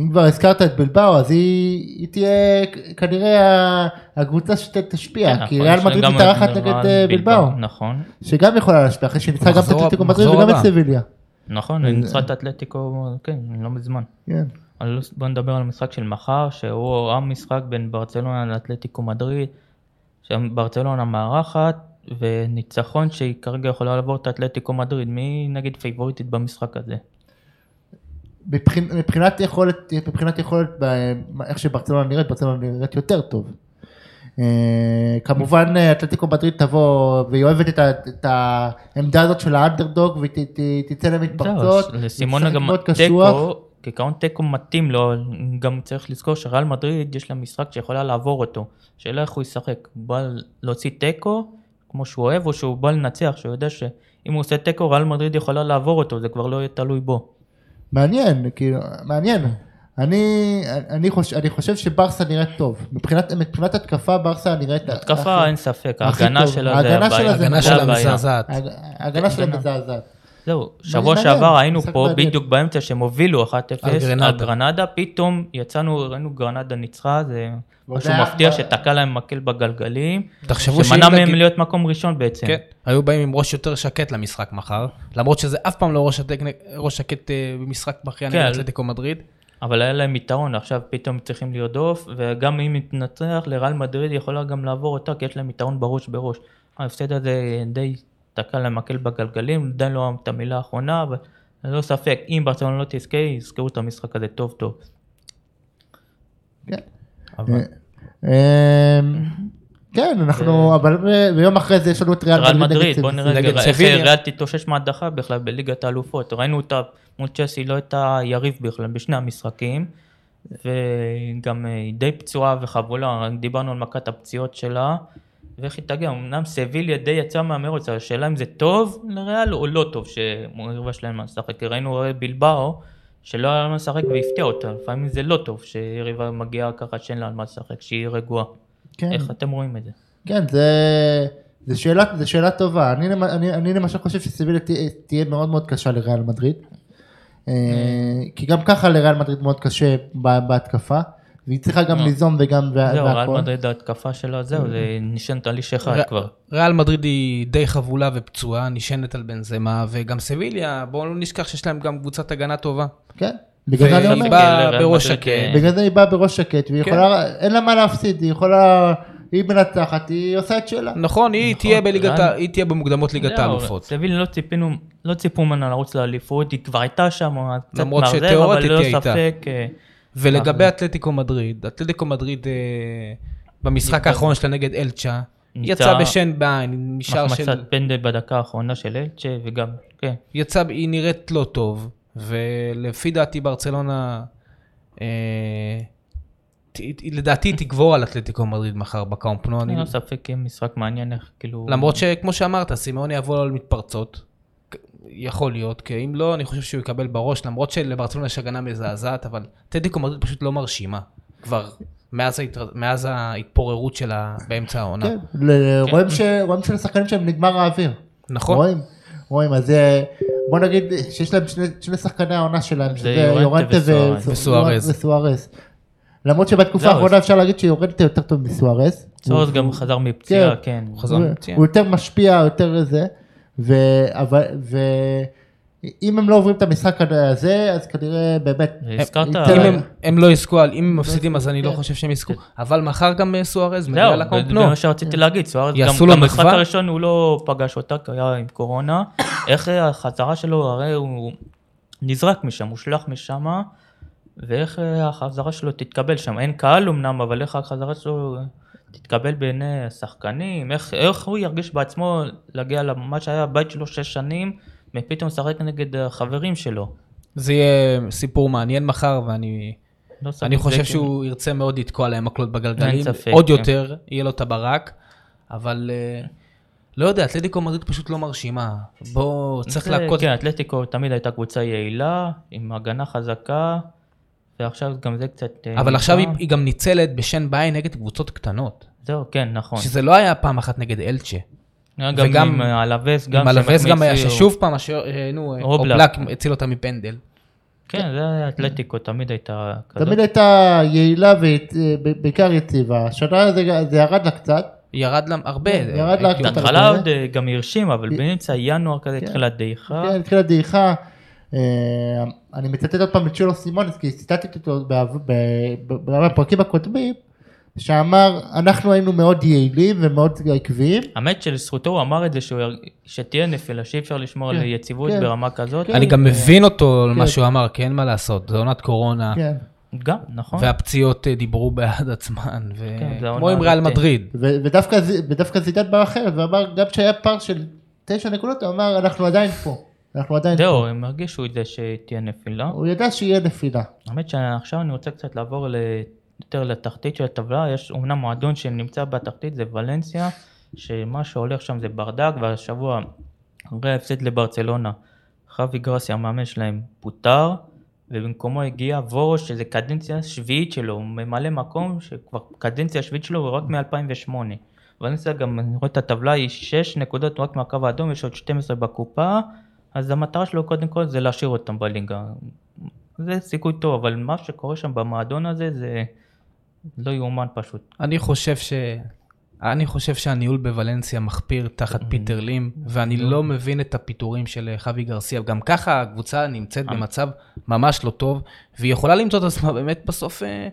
S2: אם כבר הזכרת את בלבאו, אז היא היא תהיה כ- כנראה ה- הקבוצה שתשפיע, כן, כי
S1: נכון,
S2: ריאל
S1: יש
S2: מדריד
S1: גם
S2: מתארחת
S1: את
S2: נגד אה,
S1: ריאל
S2: בלבאו,
S1: נכון.
S2: שגם יכולה להשפיע, אחרי שניצחה גם את
S3: מחזור-
S2: אתלטיקו מדריד
S3: מחזור
S2: וגם את
S3: הבא.
S2: סביליה.
S1: נכון, היא ניצחה את אתלטיקו, כן, לא מזמן.
S2: כן.
S1: אבל לא בוא נדבר על המשחק של מחר, שהוא המשחק בין ברצלונה לאתלטיקו מדריד, שברצלונה מארחת, וניצחון שהיא כרגע יכולה לעבור את אתלטיקו מדריד. מי נגיד פייבוריטית במשחק הזה?
S2: מבחינ- מבחינת יכולת, מבחינת יכולת, ב- איך שברצלונה נראית, ברצלונה נראית יותר טוב. אה, כמובן אה, אתלטיקו מדריד תבוא והיא אוהבת את ה- את העמדה הזאת של האנדרדוג והיא ת- ת- תצא
S1: זהו,
S2: למתפרצות.
S1: לא, לסימונה
S2: תשחק
S1: גם
S2: מאוד קשוח.
S1: תיקו, כ- כעיקרון תיקו מתאים לו, גם צריך לזכור שריאל מדריד יש לה משחק שיכולה לעבור אותו. השאלה איך הוא ישחק, הוא בא להוציא תיקו כמו שהוא אוהב, או שהוא בא לנצח, שהוא יודע שאם הוא עושה תיקו ריאל מדריד יכולה לעבור אותו, זה כבר לא יהיה תלוי בו.
S2: מעניין, כאילו, מעניין. אני, אני, חוש, אני חושב שברסה נראית טוב. מבחינת, מבחינת התקפה, ברסה נראית...
S1: התקפה אין ספק,
S2: נכון. הכי
S1: ההגנה
S2: טוב.
S1: שלה זה
S2: ההגנה
S1: הבעיה.
S2: שלה זה
S3: הגנה
S2: זה
S3: שלה
S1: הבעיה.
S3: מזעזעת.
S2: הג- ההגנה שלה
S1: הגנה.
S2: מזעזעת.
S1: זהו, שבוע
S2: מעניין,
S1: שעבר היינו
S2: משחק
S1: פה
S2: מעניין.
S1: בדיוק באמצע שהם הובילו 1-0
S3: על גרנדה.
S1: על גרנדה, פתאום יצאנו, ראינו גרנדה ניצחה, זה
S2: ועוד
S1: משהו
S2: היה-
S1: מפתיע שתקע להם מקל בגלגלים,
S3: תחשבו שאם
S1: שמנע מהם
S3: נגיד-
S1: להיות מקום ראשון בעצם.
S3: כן, היו באים עם ראש יותר שקט למשחק מחר, למרות שזה אף פעם לא ראש שקט- ראש שקט אה, במשחק מכריע נגד
S1: כן.
S3: אתלטיקו מדריד.
S1: אבל היה להם יתרון, עכשיו פתאום צריכים לרדוף, וגם אם נתנצח, לריאל מדריד יכולה גם לעבור אותה, כי יש להם יתרון בראש בראש. ההפסד הזה די תקע להם מקל בגלגלים, עדיין לא אמרנו את המילה האחרונה, אבל ללא ספק, אם ברצלונה לא תזכה, יזכרו את המשחק הזה טוב טוב.
S2: כן.
S1: אבל
S2: אמ, כן, אנחנו, אבל אה, ויום אחרי זה יש לנו את
S1: ריאל
S2: ריאל
S1: מדריד,
S2: נגד
S1: בוא נראה
S3: נגד
S1: רגע, איך
S3: סביליה.
S1: ריאל תתאושש מהדחה בכלל בליגת האלופות. ראינו אותה מול צ'סי, לא הייתה יריב בכלל בשני המשחקים, וגם אה, היא די פצועה וחבולה, רק דיברנו על מכת הפציעות שלה, ואיך היא תגיע, אמנם סביליה די יצאה מהמרוץ, אבל השאלה אם זה טוב לריאל או לא טוב שהמריבה שלהם לשחק, כי ראינו אה, בלבאו. שלא היה לה מה לשחק והפתיע אותה, לפעמים זה לא טוב שיריבה מגיעה ככה שאין לה על מה לשחק, שהיא רגועה.
S2: כן.
S1: איך אתם רואים את זה?
S2: כן, זה, זה, שאלה, זה שאלה טובה. אני, למ- אני, אני למשל חושב שסיביליה תה, תהיה מאוד מאוד קשה לריאל מדריד. אה, כי גם ככה לריאל מדריד מאוד קשה ב- בהתקפה. והיא צריכה גם
S1: אה.
S2: ליזום וגם וה-
S1: זהו, ריאל מדריד ההתקפה שלה, זהו, זה נשענת על איש אחד
S3: ר-
S1: כבר.
S3: ריאל מדריד היא די חבולה ופצועה, נשענת על בנזמה, וגם סביליה, בואו לא נשכח שיש להם גם קבוצת הגנה טובה.
S2: כן, בגלל זה אני
S3: והיא
S2: אומר.
S3: באה
S1: לריאל
S3: בראש
S1: מדריד, כן.
S3: שקט.
S2: בגלל זה היא באה בראש שקט, והיא יכולה, אין לה מה להפסיד, היא יכולה, היא מנצחת, היא עושה את שלה.
S3: נכון, היא תהיה בליגת, ה-
S1: ריאל-
S3: היא תהיה במוקדמות ליגת
S1: זהו,
S3: האלופות.
S1: סביליה לא ציפינו, לא ציפו ממנה לרוץ לאליפות, היא כבר הייתה שם, אז קצת
S3: למרות
S1: מערער, אבל
S3: שתיאורטית
S1: ללא
S3: היא הייתה.
S1: ספק, אה,
S3: ולגבי אתלטיקו מדריד, אתלטיקו מדריד אה, במשחק האחרון שלה נגד אלצ'ה,
S1: ניצחה-
S3: יצאה בשן בעין, נשאר
S1: מחמצת
S3: של...
S1: פנדל בדקה האחרונה של אלצ'ה, וגם, כן,
S3: יצא, היא נראית לא טוב, ולפי דעתי ברצלונה, אה, ת- ת- לדעתי תגבור על אתלטיקו מדריד מחר בקאומפנו, אני
S1: ללא לא ספק יהיה משחק מעניין איך כאילו...
S3: למרות שכמו שאמרת, סימאון יבוא לו על מתפרצות. כ- יכול להיות, כי אם לא, אני חושב שהוא יקבל בראש, למרות שלברצלונה יש הגנה מזעזעת, אבל טדיקו מדריד פשוט לא מרשימה. כבר מאז, ההתר... מאז ההתפוררות שלה באמצע
S1: לא.
S3: העונה.
S2: כן, ל- רואים ש- רואים שלשחקנים שלהם נגמר האוויר.
S3: נכון?
S2: רואים, רואים, אז אה, בוא נגיד שיש להם שני- שני שחקני העונה שלהם, שזה
S1: יורנטה
S2: יורנטה
S1: וסוארז.
S2: וסו-
S3: וסוארז.
S2: וסוארז. למרות שבתקופה
S1: זהו,
S2: האחרונה
S1: אז-
S2: אפשר להגיד שיורנטה יותר טוב מסוארז.
S1: סורס גם חזר מפציעה,
S2: כן.
S1: כן.
S3: חזר
S2: הוא-
S3: מפציעה.
S2: הוא יותר משפיע, יותר זה, ואם הם לא עוברים את המשחק הזה, אז כנראה באמת,
S1: אה, הזכרת...
S2: אם
S3: אם
S2: כן.
S3: הם, הם לא יזכו, על- אם הם מפסידים אז אני לא חושב שהם יזכו, אבל מחר גם אה, סוארז מגיע
S1: זהו, זה
S3: לקומפנו.
S1: מה שרציתי להגיד, סוארז, גם
S3: יעשו לו
S1: גם במשחק
S3: מחווה?
S1: הראשון הוא לא פגש אותה, כי היה עם קורונה, [coughs] איך החזרה שלו, הרי הוא נזרק משם, הושלך משם, ואיך החזרה שלו תתקבל שם, אין קהל אמנם, אבל איך החזרה שלו תתקבל בעיני השחקנים, איך, איך הוא ירגיש בעצמו להגיע למה שהיה הבית שלו שש שנים, ופתאום לשחק נגד החברים שלו.
S3: זה יהיה סיפור מעניין מחר, ואני
S1: לא סביר,
S3: אני
S1: זה
S3: חושב
S1: כאילו-
S3: שהוא ירצה מאוד לתקוע להם מקלות בגלגלים,
S1: אין ספק,
S3: עוד
S1: כן.
S3: יותר, יהיה לו את הברק, אבל אה, לא יודע, אתלטיקו מדריד פשוט לא מרשימה. בוא, צריך
S1: זה-
S3: להכות...
S1: כן, אתלטיקו תמיד הייתה קבוצה יעילה, עם הגנה חזקה, ועכשיו גם זה קצת... אה,
S3: אבל עכשיו היא-
S1: נפגע.
S3: היא גם ניצלת בשן ביי נגד קבוצות קטנות,
S1: זהו, כן, נכון.
S3: שזה לא היה פעם אחת נגד אלצ'ה.
S1: גם
S3: וגם-
S1: עם אה, הלווס, גם...
S3: עם הלווס
S1: שמחמיץ
S3: גם היה
S1: סיור.
S3: ששוב פעם, השוער, אה, נו, אה,
S1: אובלק.
S3: אובלק הציל אותה מפנדל.
S1: כן, זה היה אתלטיקו, תמיד הייתה כזאת.
S2: תמיד הייתה יעילה ובעיקר יציבה, השנה זה- זה ירד לה קצת,
S3: ירד לה הרבה. אה, כאילו.
S2: כן, ירד לה
S3: הייתי
S2: הקטנה.
S3: אומר.
S1: בהתחלה עוד אה, גם הרשים, אבל באמצע ינואר כזה
S2: כן.
S1: התחילה דעיכה.
S2: כן, התחילה דעיכה. אה, אני מצטט עוד פעם את שולו סימונס, כי ציטטתי אותו בעב- ב- ב- בפרקים הקודמים, שאמר, אנחנו היינו מאוד יעילים ומאוד עקביים.
S1: האמת שלזכותו הוא אמר את זה, שהוא ירג- שתהיה נפילה, שאי אפשר לשמור על
S2: כן,
S1: יציבות
S2: כן.
S1: ברמה כזאת.
S3: אני גם מבין אותו, על
S2: כן.
S3: מה שהוא אמר, כי אין מה לעשות, זו עונת קורונה.
S2: כן.
S1: גם, נכון.
S3: והפציעות אה, דיברו בעד עצמן,
S1: כן, זה
S3: וכמו
S1: העונה
S3: עם ריאל
S1: הזאת.
S3: מדריד.
S2: ו- ודווקא ז- ודווקא זידן בא אחרת, ואמר, גם כשהיה פער של תשע נקודות, הוא אמר, אנחנו עדיין פה. אנחנו עדיין...
S1: זהו, הם הרגישו את זה שתהיה נפילה.
S2: הוא ידע שיהיה נפילה.
S1: האמת שעכשיו אני רוצה קצת לעבור ל... יותר לתחתית של הטבלה, יש אומנם מועדון שנמצא בתחתית, זה ולנסיה, שמה שהולך שם זה ברדק, והשבוע אחרי ההפסד לברצלונה, חווי גרסיה המאמן שלהם פוטר, ובמקומו הגיע וורוש, שזה קדנציה שביעית שלו, הוא ממלא מקום שכבר קדנציה שביעית שלו רק מ-2008. ולנסיה גם, אני רואה את הטבלה, היא 6 נקודות רק מהקו האדום, יש עוד 12 בקופה, אז המטרה שלו קודם כל זה להשאיר אותם בליגה. זה סיכוי טוב, אבל מה שקורה שם במועדון הזה זה לא יאומן פשוט.
S3: אני חושב ש... אני חושב שהניהול בוולנסיה מחפיר
S1: Mm.
S3: תחת פיטר לים, ואני לא מבין את הפיטורים של חבי גרסיה. גם ככה הקבוצה נמצאת
S1: אה.
S3: במצב ממש לא טוב, והיא יכולה למצוא את עצמה באמת בסוף אה,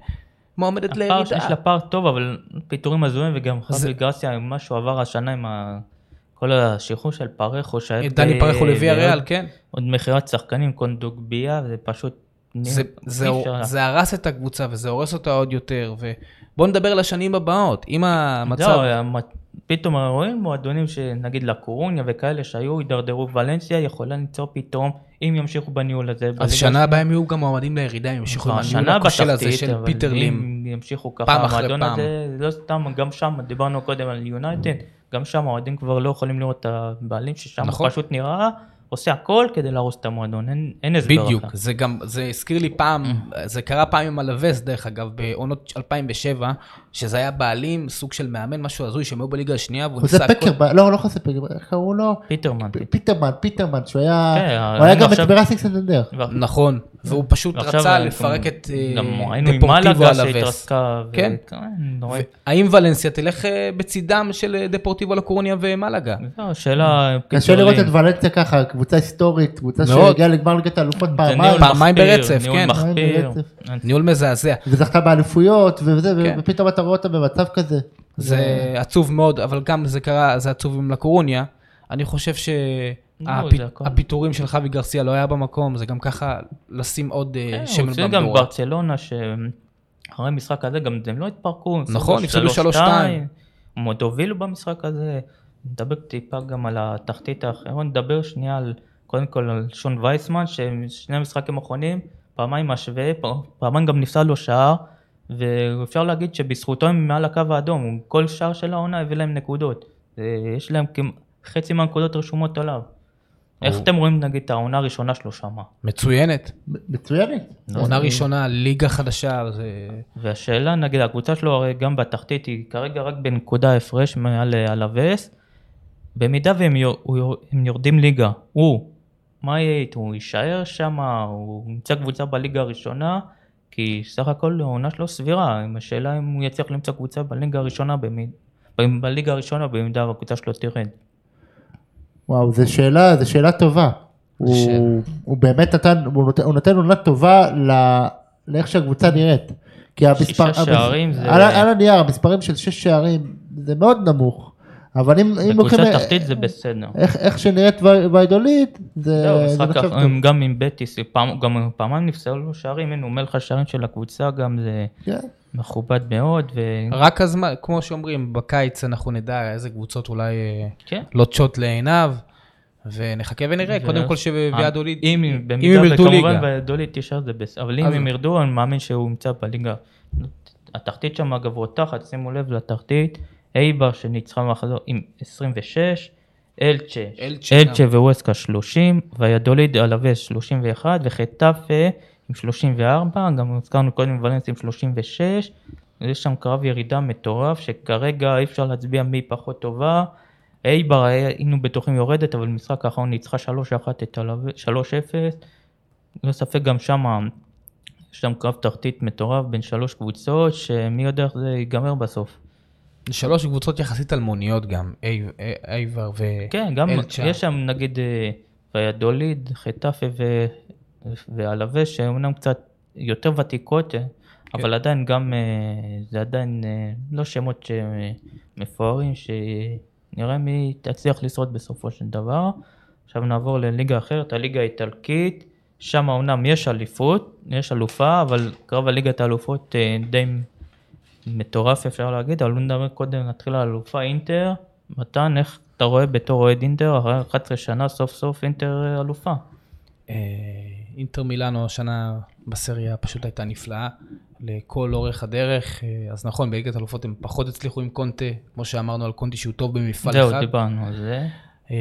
S3: מועמדת
S1: הפער, יש
S3: לירידה.
S1: לה פער טוב, אבל פיטורים הזויים, וגם
S3: אה, זה-
S1: חבי גרסיה, מה שהוא עבר השנה עם ה... כל השחרור של פרחו, שהיה...
S3: את אה, דני פרחו
S1: ב-
S3: לוי הריאל,
S1: ועוד-
S3: כן.
S1: עוד מכירת שחקנים, קונדוגביה, זה פשוט...
S3: זה-
S1: אי
S3: זה-
S1: אפשר-
S3: זה הרס את הקבוצה וזה הורס אותה עוד יותר, ובואו נדבר על השנים הבאות. אם המצב...
S1: זהו, המ- לא, פתאום רואים מועדונים שנגיד לקורוניה וכאלה שהיו, הידרדרו, ולנסיה יכולה ליצור פתאום, אם ימשיכו בניהול הזה. בליגה
S3: אז שנה הבאה הם יהיו גם מועמדים לירידה, הם ימשיכו עם הניהול
S1: השנה
S3: הכושל הזה
S1: נכון, בתחתית,
S3: של
S1: אבל
S3: פיטר לים.
S1: אם ימשיכו ככה,
S3: פעם אחרי
S1: המועדון
S3: פעם.
S1: הזה, לא סתם, גם שם, דיברנו קודם על יונייטד, גם שם האוהדים כבר לא יכולים לראות את הבעלים, ששם
S3: נכון.
S1: הוא פשוט נראה, עושה הכל כדי להרוס את המועדון, אין- אין הסבר אחר.
S3: בדיוק, זה גם, זה הזכיר לי פעם, זה קרה פעם עם הלווס, דרך אגב, בעונות 2007, שזה היה בעלים, סוג של מאמן, משהו הזוי, שהם היו בליגה השנייה, והוא
S2: חוזה
S3: ניסה הכל.
S2: פקרמן, לא, לא חוזה פקרמן, איך קראו לו?
S1: פיטרמן.
S2: לא- פ- פיטרמן, פיטרמן, שהוא היה...
S1: כן,
S2: הוא היה גם
S1: עכשיו-
S2: את ברסי סנדנדר.
S3: נכון, והוא פשוט
S1: ועכשיו
S3: רצה
S1: אנחנו-
S3: לפרק את אה,
S1: גם ראינו עם
S3: דפורטיבו
S1: מלאגה
S3: הלווס.
S1: שהתרסקה. ו-
S3: כן.
S1: נורא.
S3: האם ולנסיה תלך אה, בצידם של אה, דפורטיבו לקורוניה ומלאגה?
S1: זהו, שאלה...
S2: קשה לראות את
S1: פיטרלין.
S2: ולנסיה ככה, קבוצה היסטורית, קבוצה
S3: מאוד.
S2: שהגיעה לגמר ליגת האלופות
S1: זה ניהול
S2: פעמיים,
S3: פעמיים
S1: מחפיר,
S3: ברצף, כן.
S1: ניהול מחפיר.
S2: ברצף.
S3: ניהול מזעזע.
S2: וזכתה באליפויות, וזה, ו-
S3: כן.
S2: ופתאום אתה רואה אותה במצב כזה.
S3: זה
S1: אה.
S3: עצוב מאוד, אבל גם זה קרה, זה עצוב עם לקורוניה. אני חושב
S1: לא, זה הכל.
S3: שהפיטורים של חבי גרסיה לא היה במקום, זה גם ככה לשים עוד אה,
S1: כן,
S3: שמן
S1: הוא הפסיד גם
S3: במדורה.
S1: ברצלונה, שאחרי המשחק הזה גם הם לא התפרקו. הם
S3: נכון, הפסידו 3-2.
S1: הם עוד הובילו במשחק הזה. נדבר טיפה גם על התחתית האחרון, נדבר שנייה על, קודם כל על שון וייסמן, ששני המשחקים האחרונים, פעמיים משווה, פ- פעמיים גם נפסל לו שער, ואפשר להגיד שבזכותו הם מעל הקו האדום, הוא- כל שער של העונה הביא להם נקודות. זה- יש להם כמ- חצי מהנקודות רשומות עליו. איך
S3: הוא-
S1: אתם רואים נגיד את העונה הראשונה שלו שמה?
S3: מצוינת.
S2: מצוינת.
S1: לא,
S3: עונה ראשונה, ליגה חדשה, זה...
S1: והשאלה, נגיד, הקבוצה שלו הרי גם בתחתית היא כרגע רק בנקודה הפרש מעל אה, הלווס. במידה והם יור, הוא יור, הם יורדים ליגה, הוא, מה יהיה איתו? הוא יישאר שם? הוא ימצא קבוצה בליגה הראשונה? כי סך הכל העונה שלו סבירה, עם השאלה אם הוא יצליח למצוא קבוצה בליגה הראשונה, במי- ב- בליגה הראשונה במידה והקבוצה שלו תרד.
S2: וואו, זו שאלה, זו שאלה טובה. הוא, הוא באמת נתן, הוא נותן, הוא נותן עונה טובה ל, לאיך שהקבוצה נראית. כי המספר, המס-
S1: שערים זה-
S2: על, ה- על הנייר, המספרים של שש שערים זה מאוד נמוך. אבל אם, אם
S1: בקבוצה
S2: לוקחים-
S1: תחתית זה בסדר.
S2: איך, איך שנראית וי- ויידולית, זה,
S1: זהו,
S2: אה, זה
S1: לא, משחק
S2: נחשב
S1: אחר-
S2: טוב.
S1: גם עם בטיס, פעם- גם פעמיים נפסלו לו שערים, הנה הוא מלך השערים של הקבוצה, גם זה
S2: כן.
S1: מכובד מאוד, ו...
S3: רק הזמן, כמו שאומרים, בקיץ אנחנו נדע איזה קבוצות אולי אה,
S1: כן.
S3: לוטשות לעיניו, ונחכה ונראה,
S1: זה-
S3: קודם כל שביד הוליד...
S1: אה, אם הם
S3: אם הם
S1: במידה
S3: ירדו
S1: וכמובן
S3: ליגה.
S1: והדולית תשאר זה בסדר, אבל אם
S3: אז-
S1: הם ירדו אני מאמין שהוא ימצא בליגה. התחתית שם אגב רותחת, שימו לב לתחתית, אייבר שניצחה מחזור עם 26, אלצ'ה,
S3: אלצ'ה גם.
S1: אלצ'ה וווסקה 30, והידוליד אלווס 31 וחטאפה עם 34, גם הזכרנו קודם ולנס עם 36, יש שם קרב ירידה מטורף שכרגע אי אפשר להצביע מי פחות טובה. אייבר היינו בטוחים יורדת אבל משחק האחרון ניצחה 3-1 את הלווס, 3-0, לא ספק גם שם יש שם קרב תחתית מטורף בין שלוש קבוצות שמי יודע איך זה ייגמר בסוף.
S3: שלוש קבוצות יחסית אלמוניות גם, אי- אי- אייבר ו...
S1: כן, גם
S3: אלצ'ה.
S1: יש שם נגיד אה, ויאדוליד, חטאפה ו... והלווה שאומנם קצת יותר ותיקות, אה, אבל עדיין גם אה, זה עדיין אה, לא שמות שמפוארים שנראה מי תצליח לשרוד בסופו של דבר. עכשיו נעבור לליגה אחרת, הליגה האיטלקית, שם אומנם יש אליפות, יש אלופה, אבל קרב הליגת האלופות אה, די מטורף אפשר להגיד, אבל בוא נדבר קודם, נתחיל על אלופה אינטר, מתן, איך אתה רואה בתור אוהד אינטר, אחרי 11 שנה סוף סוף אינטר אה, אלופה.
S3: אה, אינטר מילאנו השנה בסריה פשוט הייתה נפלאה לכל אורך הדרך. אה, אז נכון, בליגת אלופות הם פחות הצליחו עם קונטה, כמו שאמרנו על קונטה שהוא טוב במפעל
S1: זהו,
S3: אחד.
S1: דיברנו על זה.
S3: אה,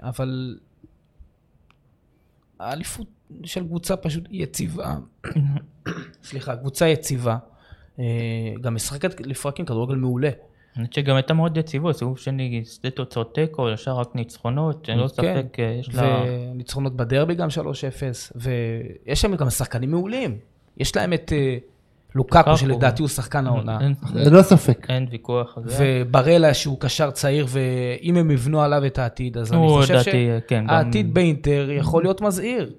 S3: אבל האליפות של קבוצה פשוט יציבה. [coughs] סליחה, קבוצה יציבה. אה, גם משחקת לפרקים כדורגל מעולה.
S1: אני חושב שגם הייתה מאוד יציבות, סיבוב שני, שתי תוצאות תיקו, ישר רק ניצחונות, אין לו
S3: כן.
S1: ספק, אה, יש לה...
S3: וניצחונות בדרבי גם 3-0, ויש להם גם שחקנים מעולים. יש להם את אה, לוקקו,
S1: לוקקו.
S3: שלדעתי הוא שחקן העונה,
S1: אין-
S2: ללא לא ספק.
S1: אין ויכוח על זה.
S3: וברלה שהוא קשר צעיר, ואם הם יבנו עליו את העתיד, אז אני
S1: הוא
S3: חושב
S1: לדעתי, כן, גם-
S3: שהעתיד באינטר יכול להיות מזהיר.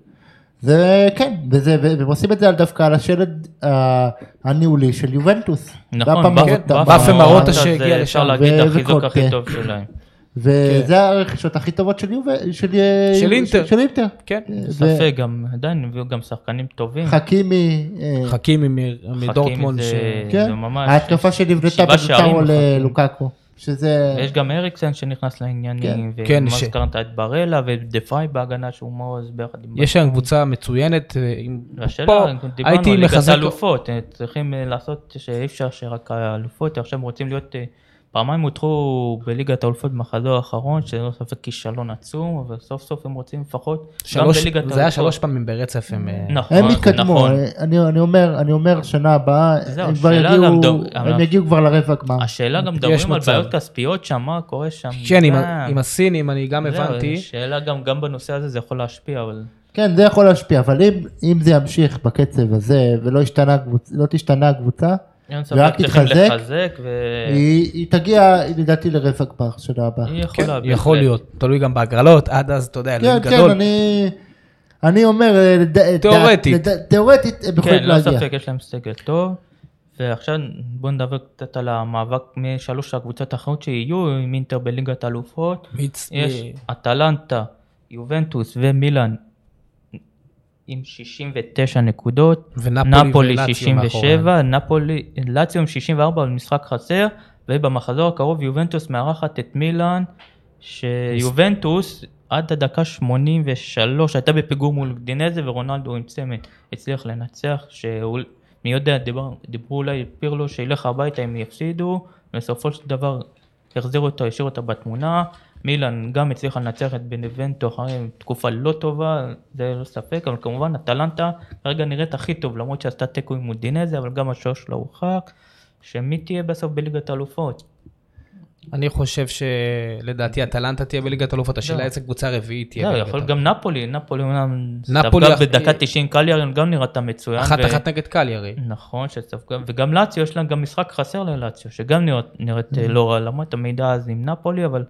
S2: זה כן, וזה, ו- והם עושים את זה על דווקא על השלד אה, הניהולי של יובנטוס. כן.
S1: נכון,
S3: כן,
S2: באפה
S1: באפה-
S2: מרוטה.
S3: באפה מרוטה
S1: זה
S3: שהגיע לשם,
S1: אפשר להגיד
S2: ו-
S1: החיזוק
S2: וקונטה.
S3: אה,
S1: הכי טוב שלהם. כן.
S2: וזה הרכישות הכי טובות של יובה, של, אה,
S3: של אינטר.
S2: של אינטר.
S3: כן.
S1: ספק, גם עדיין הביאו גם שחקנים טובים.
S2: חכימי, אה,
S3: חכימי מ-
S1: חכים
S3: מדורטמונד,
S1: זה-
S3: ש...
S1: זה
S2: כן,
S1: ממש...
S2: ההתקפה שנבנתה
S1: שבעה שערים
S2: בנוצרו
S1: מחכים.
S2: ללוקקו, שזה,
S1: יש גם אריקסן שנכנס לעניינים,
S3: כן,
S1: וכמו
S3: ש-
S1: שהזכרת את ברלה ודה פריי בהגנה שהוא מעוז ביחד עם...
S3: יש להם קבוצה מצוינת, אה, עם...
S1: והשאלה,
S3: פה
S1: דיברנו
S3: הייתי
S1: על ליגת
S3: מחזק,
S1: האלופות, אה, צריכים אה, לעשות שאי אפשר שרק האלופות, עכשיו רוצים להיות, אה, פעמיים הודחו בליגת האלופות במחזור האחרון, שללא ספק כישלון עצום, אבל סוף סוף הם רוצים לפחות, גם
S3: שלוש-
S1: בליגת
S3: זה היה
S1: האלופות.
S3: שלוש פעמים ברצף, הם... אה,
S1: נכון,
S2: הם יתקדמו,
S1: נכון.
S2: אה, אני אני אומר, אני אומר שנה הבאה,
S1: זהו,
S2: הם כבר
S1: השאלה גם
S2: יגיעו,
S1: דו-
S2: הם יגיעו כבר לרבע גמר.
S1: השאלה גם
S3: יש
S1: מדברים על
S3: מצב.
S1: בעיות כספיות שם, מה קורה שם.
S3: כן, עם
S1: אה,
S3: ה- עם הסינים, אני גם
S1: זהו,
S3: הבנתי.
S1: השאלה גם, גם בנושא הזה זה יכול להשפיע, אבל
S2: כן, זה יכול להשפיע, אבל אם, אם זה ימשיך בקצב הזה ולא השתנה, קבוצ- לא תשתנה הקבוצה,
S1: אין ספק,
S2: ורק
S1: צריכים
S2: תתחזק,
S1: לחזק, והיא
S2: היא, היא תגיע לדעתי לרבע גמר שנה הבאה.
S3: כן,
S1: יכולה.
S3: יכול
S1: בהחלט.
S3: להיות, תלוי גם בהגרלות, עד אז, אתה יודע, אלוהים
S2: כן,
S3: גדול.
S2: כן, אני, אני אומר, אה, לד- אה,
S3: תיאורטית.
S2: לד- תיאורטית הם יכולים
S1: כן, לא
S2: להגיע.
S1: ספק, יש להם סגל טוב. ועכשיו בואו נדבר קצת על המאבק משלוש הקבוצות האחרות שיהיו עם אינטר בליגת האלופות.
S3: מיץ-
S1: יש
S3: אה,
S1: אטלנטה, יובנטוס ומילאן עם 69 נקודות.
S3: ונפולי
S1: נפולי
S3: ולציו
S1: 67, נפולי, לאציו עם 64 על משחק חסר, ובמחזור הקרוב יובנטוס מארחת את מילאן, שיובנטוס עד הדקה 83 הייתה בפיגור מול דינזה ורונלדו עם צמד הצליח לנצח, שהוא- מי יודע, דיבר, דיברו אולי פירלו שילך הביתה אם יפסידו, בסופו של דבר החזירו אותה, השאירו אותה בתמונה. מילאן גם הצליחה לנצח את בנבנטו אחרי תקופה לא טובה, זה לא ספק, אבל כמובן אטלנטה כרגע נראית הכי טוב, למרות שעשתה תיקו עם אודינזה, אבל גם השוער שלה הורחק, שמי תהיה בסוף בליגת האלופות?
S3: אני חושב שלדעתי אטלנטה תהיה בליגת אלופות, השאלה
S1: זהו.
S3: איזה קבוצה רביעית תהיה
S1: זהו,
S3: בליגת
S1: לא. יכול
S3: אלופות.
S1: גם נפולי, נפולי אומנם
S3: נפולי
S1: ספגה
S3: הכי-
S1: בדקה 90, קליארין גם נראתה מצוין.
S3: אחת
S1: ו-
S3: אחת נגד קליארי.
S1: נכון, שספגה, וגם לאציו, יש לה גם משחק חסר ללאציו, שגם נראית, נראית
S3: Mm-hmm.
S1: אה, לא רע, למרות המידע אז עם נפולי, אבל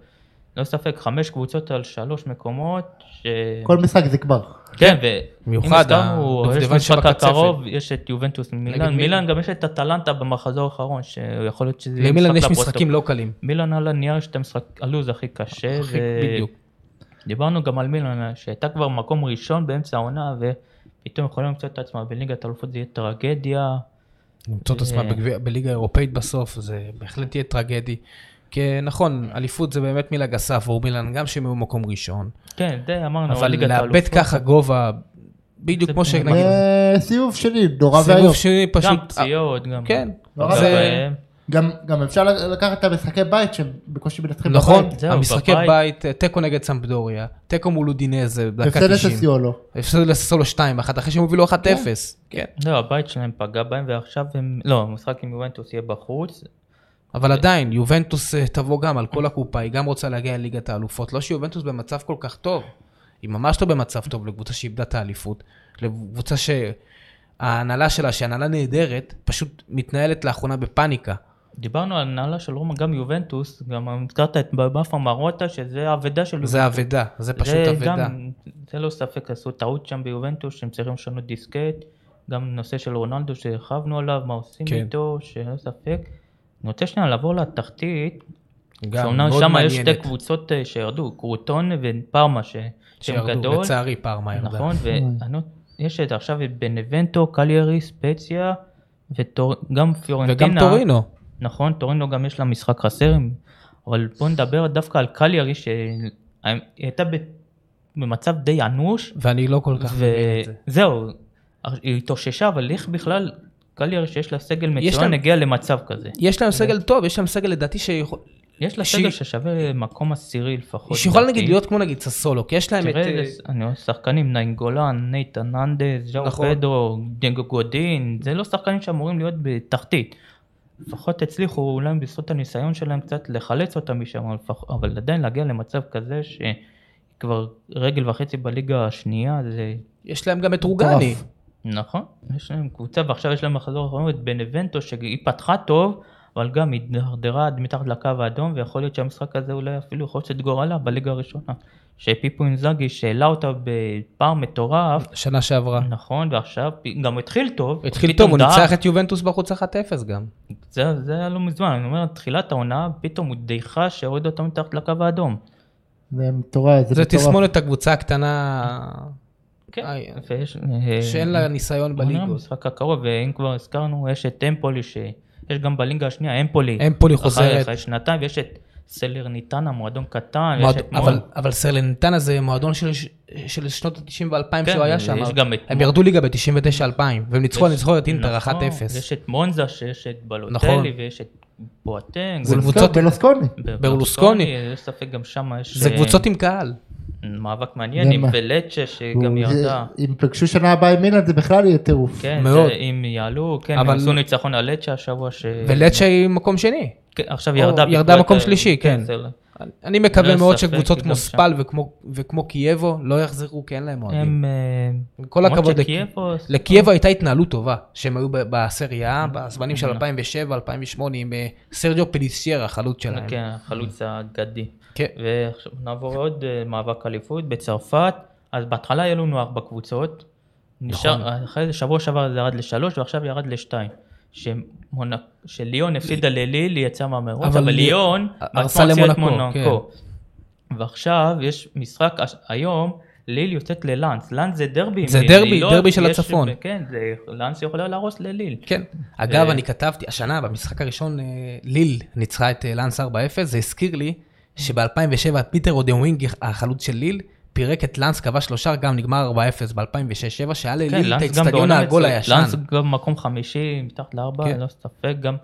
S1: לא ספק, חמש קבוצות על שלוש מקומות, ש...
S2: כל משחק זה גמר.
S1: כן, ו...
S3: במיוחד
S1: אם הזכרנו, יש
S3: הדובדבן
S1: משחק
S3: שבקצפת.
S1: הקרוב, יש את יובנטוס
S3: נגד
S1: מילאן,
S3: מילאן.
S1: מילאן גם יש את אטלנטה במחזור האחרון, שיכול להיות שזה יהיה
S3: למילן יש
S1: לפרוטוקול.
S3: משחקים לא קלים.
S1: מילאן על הנייר יש את המשחק, הלו"ז הכי קשה,
S3: הכי-
S1: ו-
S3: בדיוק.
S1: דיברנו גם על מילאן, שהייתה כבר מקום ראשון באמצע העונה, ופתאום יכולים למצוא את עצמה בליגת האלופות, זה יהיה טרגדיה.
S3: למצוא את
S1: אה.
S3: עצמה בגביע- בליגה האירופאית בסוף, זה בהחלט יהיה טרגדי. כי נכון, אליפות זה באמת מילה גסה עבור מילן, גם שהם היו מקום ראשון.
S1: כן, זה אמרנו,
S3: אבל
S1: ליגת
S3: לאבד
S1: האלופות.
S3: ככה גובה, בדיוק
S1: זה
S3: כמו
S1: באמת-
S3: שנגיד,
S2: אה, סיבוב שני, נורא ואיום.
S3: סיבוב שני פשוט...
S1: גם אה, פציעות, גם...
S3: כן.
S2: נורא
S1: גם,
S3: זה-
S1: אה,
S2: גם, גם אפשר לקחת את המשחקי בית שהם בקושי מנצחים
S3: נכון,
S2: בבית.
S1: זהו,
S3: המשחקי
S1: בבית.
S3: בית, אה, תיקו נגד סמפדוריה, תיקו מול אודינזה, דקה
S2: הפסד
S3: 90.
S2: לססיולו.
S3: הפסד לסולו 2, אחת אחרי שהם הובילו 1-0. כן.
S1: לא, הבית שלהם פגע בהם, ועכשיו הם... לא, המשחק עם יובנטוס יהיה בחוץ.
S3: כן, אבל עדיין, יובנטוס אה, תבוא גם על כל הקופה, היא גם רוצה להגיע לליגת האלופות. לא שיובנטוס במצב כל כך טוב, היא ממש לא במצב טוב לקבוצה שאיבדה את האליפות, לקבוצה שההנהלה שלה, שהנהלה נהדרת, פשוט מתנהלת לאחרונה בפאניקה.
S1: דיברנו על הנהלה של רומא, גם יובנטוס, גם הזכרת את באפה מרוטה, שזה האבדה של יובנטוס.
S3: זה אבדה, זה פשוט
S1: זה
S3: אבדה.
S1: גם, זה לא ספק, עשו טעות שם ביובנטוס, שהם צריכים לשנות דיסקט. גם נושא של רונלדו שהרחבנו עליו, מה עושים
S3: כן.
S1: איתו, שאין ספק. אני רוצה שנייה לעבור לתחתית,
S3: גם
S1: שאומנם
S3: מאוד
S1: שם יש
S3: מעניינת.
S1: שתי קבוצות אה, שירדו, קרוטון ופרמה, ש- שהם
S3: שירדו,
S1: גדול.
S3: לצערי פארמה ירדה.
S1: נכון, ויש את עכשיו את בנבנטו, קליירי, ספציה, וגם
S3: וגם
S1: פיורנטינה.
S3: טורינו.
S1: נכון, טורינו גם יש לה משחק חסר, הם אבל בוא נדבר דווקא על קליארי שהייתה ב- במצב די אנוש,
S3: ואני לא כל כך מבין את זה.
S1: וזהו, היא התאוששה, אבל איך בכלל קליארי שיש לה סגל
S3: להם-
S1: מצוין הגיע למצב כזה?
S3: יש להם סגל טוב, יש להם סגל לדעתי שיכול...
S1: יש לה
S3: ש-
S1: סגל ששווה מקום עשירי לפחות.
S3: שיכול
S1: לדעתי.
S3: נגיד להיות כמו נגיד ססולו, כי יש להם את...
S1: תראה
S3: אה,
S1: איזה אני אוהב שחקנים, נאינגולן, נייתן אנדס, ז'או
S3: נכון.
S1: פדרו, דנגו גודין, זה לא שחקנים שאמורים להיות בתחתית. לפחות הצליחו אולי בזכות הניסיון שלהם קצת לחלץ אותם משם, אבל לפח- אבל עדיין להגיע למצב כזה שכבר רגל וחצי בליגה השנייה זה
S3: יש להם גם את רוגני.
S2: מטורף.
S1: נכון, יש להם קבוצה ועכשיו יש להם מחזור אחרון את בנבנטו שהיא פתחה טוב אבל גם היא התדרדרה עד מתחת לקו האדום ויכול להיות שהמשחק הזה אולי אפילו יכול להיות את גורלה בליגה הראשונה. שפיפו אינזאגי שהעלה אותה בפער מטורף,
S3: שנה שעברה.
S1: נכון, ועכשיו פ- גם התחיל טוב.
S3: התחיל
S1: פתאום
S3: טוב, הוא
S1: דאג.
S3: ניצח את יובנטוס בחוץ 1-0 גם.
S1: זה, זה היה לא מזמן, אני אומר, תחילת העונה פתאום הוא דעיכה שהוריד אותה מתחת לקו האדום.
S2: זה מטורף, זה
S3: זה
S2: מטורף.
S3: תסמונת הקבוצה הקטנה
S1: כן,
S3: איי.
S1: ויש... אה,
S3: שאין לה ניסיון
S1: עונה
S3: בליגות.
S1: במשחק הקרוב, ואם כבר הזכרנו, יש את אמפולי, שיש גם בלינגה השנייה, אמפולי.
S3: אמפולי
S1: אחרי-
S3: חוזרת.
S1: אחרי שנתיים, ויש את סלרניטנה, מועדון קטן, ויש
S3: מועד-
S1: את
S3: אבל-
S1: מול.
S3: אבל סרלנטנה זה מועדון של- של שנות ה-90 ו-2000
S1: כן,
S3: שהוא היה שם.
S1: יש גם את
S3: הם
S1: מול.
S3: ירדו ליגה ב-99-2000, והם ניצחו, אני
S1: יש-
S3: זוכר את אינטר 1-0.
S1: נכון, יש את מונזה, שיש את
S3: נכון.
S1: בלוטלי, ויש את בואטנג.
S3: זה
S1: ו-
S2: בלוסקוני,
S3: קבוצות-
S2: בלוסקוני.
S3: ברלוסקוני.
S1: יש ספק גם שם יש
S3: זה
S1: אה,
S3: קבוצות עם קהל.
S1: מאבק מעניין,
S2: זה
S1: עם
S2: מה-
S1: ולצ'ה שגם
S2: הוא- זה-
S1: ירדה.
S2: אם פגשו שנה הבאה עם מילאן זה בכלל יהיה טירוף.
S1: כן,
S3: מאוד.
S1: זה- אם יעלו, כן, הם
S3: אבל-
S1: עשו ניצחון על לצ'ה השבוע, ש-
S3: ולצ'ה היא מקום שני.
S1: כן, עכשיו ירדה.
S3: ירדה
S1: בעקבות
S3: מקום
S1: ה-
S3: שלישי, כן.
S1: זה-
S3: אני מקווה
S1: לא
S3: מאוד
S1: ספק,
S3: שקבוצות
S1: גם
S3: כמו
S1: שם.
S3: ספל וכמו- וכמו קייבו לא יחזרו, כי אין להם אוהדים.
S1: הם... אה,
S3: עם כל הכבוד
S1: למרות
S3: לק-
S1: שקייבו-
S3: לקייבו הייתה התנהלות טובה, שהם היו ב- בסריה, בזמנים
S1: לא.
S3: של 2007-2008, עם אה, סרג'ו פליסייר, החלוץ שלהם.
S1: כן, החלוץ האגדי.
S3: כן.
S1: ועכשיו נעבור לעוד אה, מאבק אליפות בצרפת. אז בהתחלה היו לנו ארבע קבוצות.
S3: נכון.
S1: נשאר, אחרי זה שבוע שעבר זה ירד לשלוש ועכשיו ירד לשתיים. שמונק- שליון הפסידה לליל, היא יצאה מהמרוץ,
S3: אבל
S1: אבל
S3: לי-
S1: ליון
S3: הרסה
S1: עצמה הוציאה את
S3: למונקו, כן.
S1: מונקו. ועכשיו יש משחק הש- היום, ליל יוצאת ללאנס. לאנס זה דרבי. עם
S3: זה
S1: ליל,
S3: דרבי,
S1: לילות,
S3: דרבי של
S1: יש-
S3: הצפון.
S1: כן, זה- לאנס יכולה להרוס לליל.
S3: כן. אגב,
S1: אה,
S3: אני כתבתי, השנה במשחק הראשון, אה, ליל ניצחה את אה, לאנס 4-0, זה הזכיר לי שב-2007 פיטר אודמווינג, החלוץ של ליל, פירק את לאנס, כבש שלושה, גם נגמר 4-0 ב-2006-2007, שהיה
S1: כן,
S3: לליל את
S1: לאנס גם
S3: האצטדיון
S1: בעונה
S3: העגול
S1: מצוינת.
S3: הישן.
S1: לאנס גם מקום חמישי, מתחת לארבע,
S3: כן.
S1: לא ספק. גם